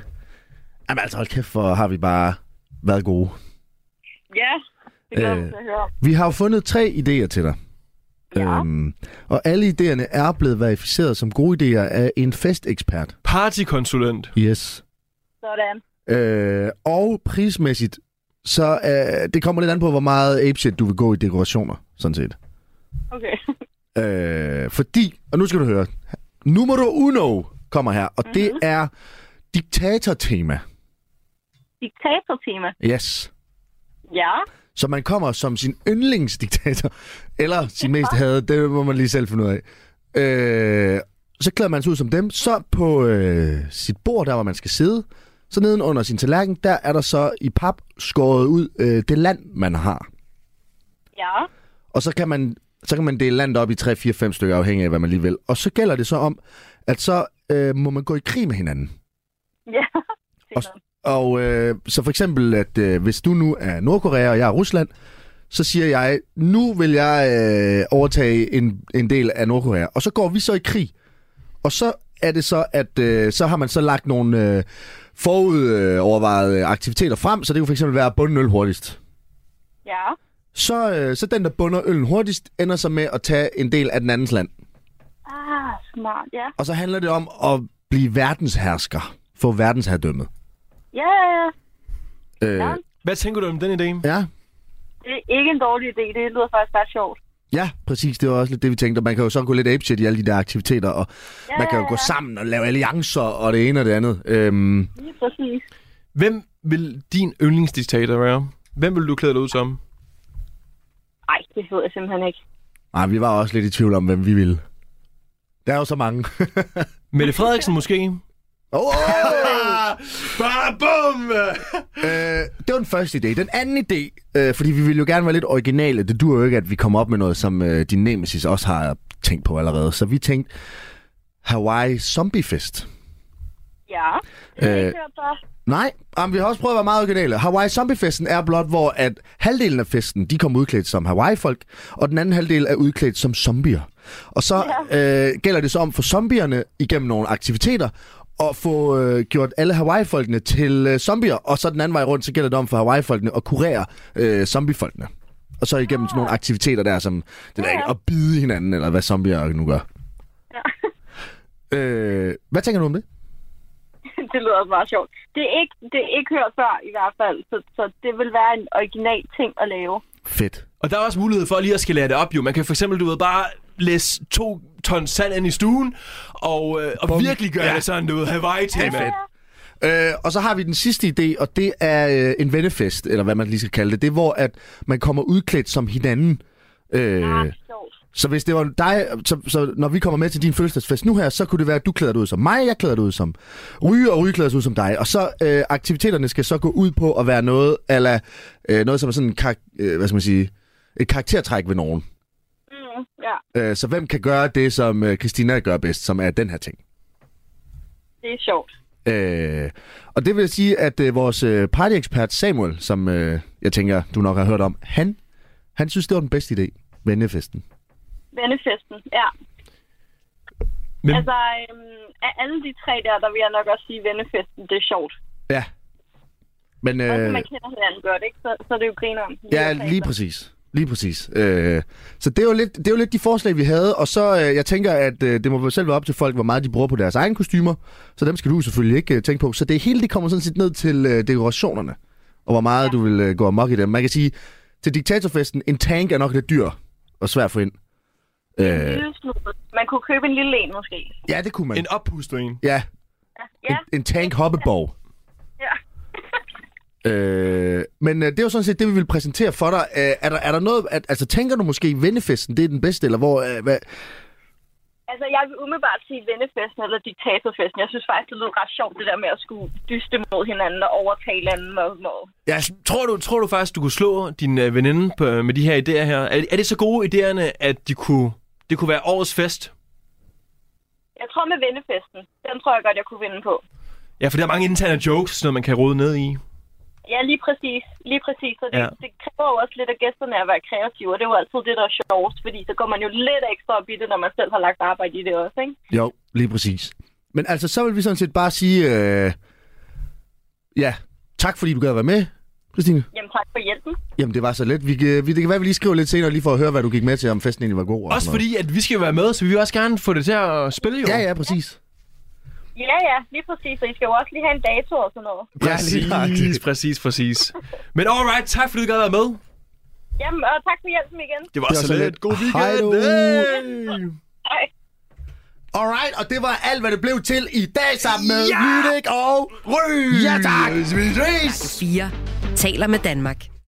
Jamen altså, hold kæft, for har vi bare været gode.
Ja, det glæder
Øh.
øh. mig til at høre om.
Vi har jo fundet tre idéer til dig.
Ja.
Øhm, og alle idéerne er blevet verificeret som gode idéer af en festekspert.
Partykonsulent.
Yes.
Sådan.
Øh, og prismæssigt, så øh, det kommer lidt an på, hvor meget apeshit du vil gå i dekorationer, sådan set.
Okay. *laughs*
Øh, fordi, og nu skal du høre, numero uno kommer her, og det er diktatortema.
Diktatortema.
Yes.
Ja.
Så man kommer som sin yndlingsdiktator, eller sin mest havde, det må man lige selv finde ud af. Øh, så klæder man sig ud som dem. Så på øh, sit bord, der hvor man skal sidde, så nedenunder sin tallerken, der er der så i pap skåret ud øh, det land, man har.
Ja.
Og så kan man, så kan man dele landet op i 3, 4, 5 stykker, afhængig af hvad man lige vil. Og så gælder det så om, at så øh, må man gå i krig med hinanden.
Ja.
Og, og øh, så for eksempel, at øh, hvis du nu er Nordkorea, og jeg er Rusland, så siger jeg, nu vil jeg øh, overtage en, en del af Nordkorea. Og så går vi så i krig. Og så er det så, at øh, så har man så lagt nogle øh, forudovervejede øh, aktiviteter frem, så det kunne for eksempel være at bunde en øl hurtigst.
Ja.
Så, øh, så den, der bunder øllen hurtigst, ender så med at tage en del af den andens land.
Ah, smart. Ja.
Og så handler det om at blive verdenshersker. Få verdensherredømmet.
Ja, ja, ja.
Øh,
Ja.
Hvad tænker du om den idé?
ja.
Det er ikke en dårlig idé. Det lyder faktisk ret sjovt.
Ja, præcis. Det var også lidt det, vi tænkte. Og Man kan jo så gå lidt apeshit i alle de der aktiviteter, og ja, man kan jo
ja,
gå sammen og lave alliancer og det ene og det andet. Øhm,
Lige præcis.
Hvem vil din yndlingsdiktator være? Hvem vil du klæde dig ud som?
Ej, det ved jeg simpelthen ikke.
ej, vi var også lidt i tvivl om, hvem vi ville. Der er jo så mange. *laughs*
Mette Frederiksen måske?
oh, *laughs*
Bare bum!
øh, det var den første idé. Den anden idé, øh, fordi vi ville jo gerne være lidt originale. Det duer jo ikke, at vi kommer op med noget, som øh, din nemesis også har tænkt på allerede. Så vi tænkte Hawaii Zombie Fest.
Ja. Det er
Øh.
ikke hørt før.
Nej, jamen, vi har også prøvet at være meget originale. Hawaii Zombie-festen er blot, hvor at halvdelen af festen, de kom udklædt som Hawaii-folk, og den anden halvdel er udklædt som zombier. Og så ja. øh, gælder det så om for zombierne igennem nogle aktiviteter, og få øh, gjort alle Hawaii-folkene til øh, zombier, og så den anden vej rundt, så gælder det om for Hawaii-folkene at kurere øh, zombie-folkene. Og så igennem sådan nogle aktiviteter der, som det der, ikke, at bide hinanden, eller hvad zombier nu gør. Ja. *laughs* Øh, hvad tænker du om det?
*laughs* det lyder også meget sjovt. Det er ikke, det er ikke hørt før i hvert fald, så, så det vil være en original ting at lave.
Fedt.
Og der er også mulighed for lige at skalere det op, jo. Man kan for eksempel, du ved, bare læse to ton sand ind i stuen, og, øh, og virkelig gøre ja. det sådan, du ved,
Det er
Hawaii-tema.
fedt. Øh, og så har vi den sidste idé, og det er øh, en vennefest, eller hvad man lige skal kalde det. Det er, hvor at man kommer udklædt som hinanden. Øh,
Ah, sjovt.
Så hvis det var dig, så, så når vi kommer med til din fødselsdagsfest nu her, så kunne det være, at du klæder dig ud som mig, jeg klæder dig ud som Ryge, og Ryge klæder sig ud som dig. Og så øh, aktiviteterne skal så gå ud på at være noget, eller øh, noget som er sådan en kar- øh, hvad skal man sige, et karaktertræk ved nogen.
Mm, ja,
Øh, så hvem kan gøre det, som øh, Christina gør bedst, som er den her ting?
det er sjovt.
Øh, og det vil sige, at øh, vores øh, partyekspert Samuel, som øh, jeg tænker, du nok har hørt om, han, han synes, det var den bedste idé, vennefesten.
Vennefesten, ja.
Men-
Men... Altså, øhm, af alle de tre der, der vil jeg nok også sige, vennefesten, det er sjovt.
Ja. Men,
Øh...
øh,
man kender hinanden godt, ikke? Så, så er det jo grineren.
ja, lige præcis. Lige præcis. Øh, så det er, jo lidt, det er jo lidt de forslag, vi havde, og så øh, jeg tænker, at øh, det må vel selv være op til folk, hvor meget de bruger på deres egen kostymer, så dem skal du selvfølgelig ikke øh, tænke på. Så det hele det kommer sådan set ned til øh, dekorationerne, og hvor meget ja. du vil øh, gå amok i dem. Man kan sige, til diktatorfesten, en tank er nok lidt dyr og svær at få ind. Øh,
En lille snude. Man kunne købe en lille en, måske.
Ja, det kunne man.
En oppustet en.
Ja, en,
Ja,
en tank hoppeborg.
ja.
*laughs* Øh, men øh, det er jo sådan set det, vi vil præsentere for dig. Øh, er, der, er der noget... At, altså, tænker du måske, vennefesten det er den bedste, eller hvor... Øh, hvad?
Altså, jeg vil umiddelbart sige vennefesten eller diktatorfesten. Jeg synes faktisk, det lød ret sjovt, det der med at skulle dyste mod hinanden og overtale anden. Og, og...
Ja, tror du, tror du faktisk, du kunne slå din øh, veninde på, med de her idéer her? Er, er det så gode idéerne, at de kunne, det kunne være årets fest?
Jeg tror med vennefesten. Den tror jeg godt, jeg kunne vinde på.
Ja, for der er mange interne jokes, sådan noget, man kan rode ned i.
Ja, lige præcis. Lige præcis. Så det,
Ja.
ja. det kræver jo også lidt af gæsterne at være kreative, og det er jo altid det, der er sjovest, fordi så går man jo lidt ekstra op i det, når man selv har lagt arbejde i det også, ikke?
Jo, lige præcis. Men altså, så vil vi sådan set bare sige, øh, ja, tak fordi du gad at være med, Christine.
Jamen, tak for hjælpen.
Jamen, det var så let. Vi, kan- vi, det kan være, vi lige skriver lidt senere, lige for at høre, hvad du gik med til, om festen egentlig var god. og
Også
sådan
fordi,
noget.
at vi skal være med, så vi vil også gerne få det til at spille, jo.
Ja, ja, præcis.
Ja, ja, lige præcis. Og I skal jo også lige have en dato og sådan noget.
Ja, lige nøjagtigt.
Præcis, præcis, præcis. Men alright, tak fordi du gad at være med.
Jamen, og tak for hjælpen igen.
Det var,
Det var
så
så
lidt.
lidt.
God
Hej
weekend.
du.
Hey.
Hej.
Alright, og det var alt, hvad det blev til i dag sammen med ja! Lydik og...
Røg.
Ja, tak!
Vi ses.
Radio 4 taler med Danmark.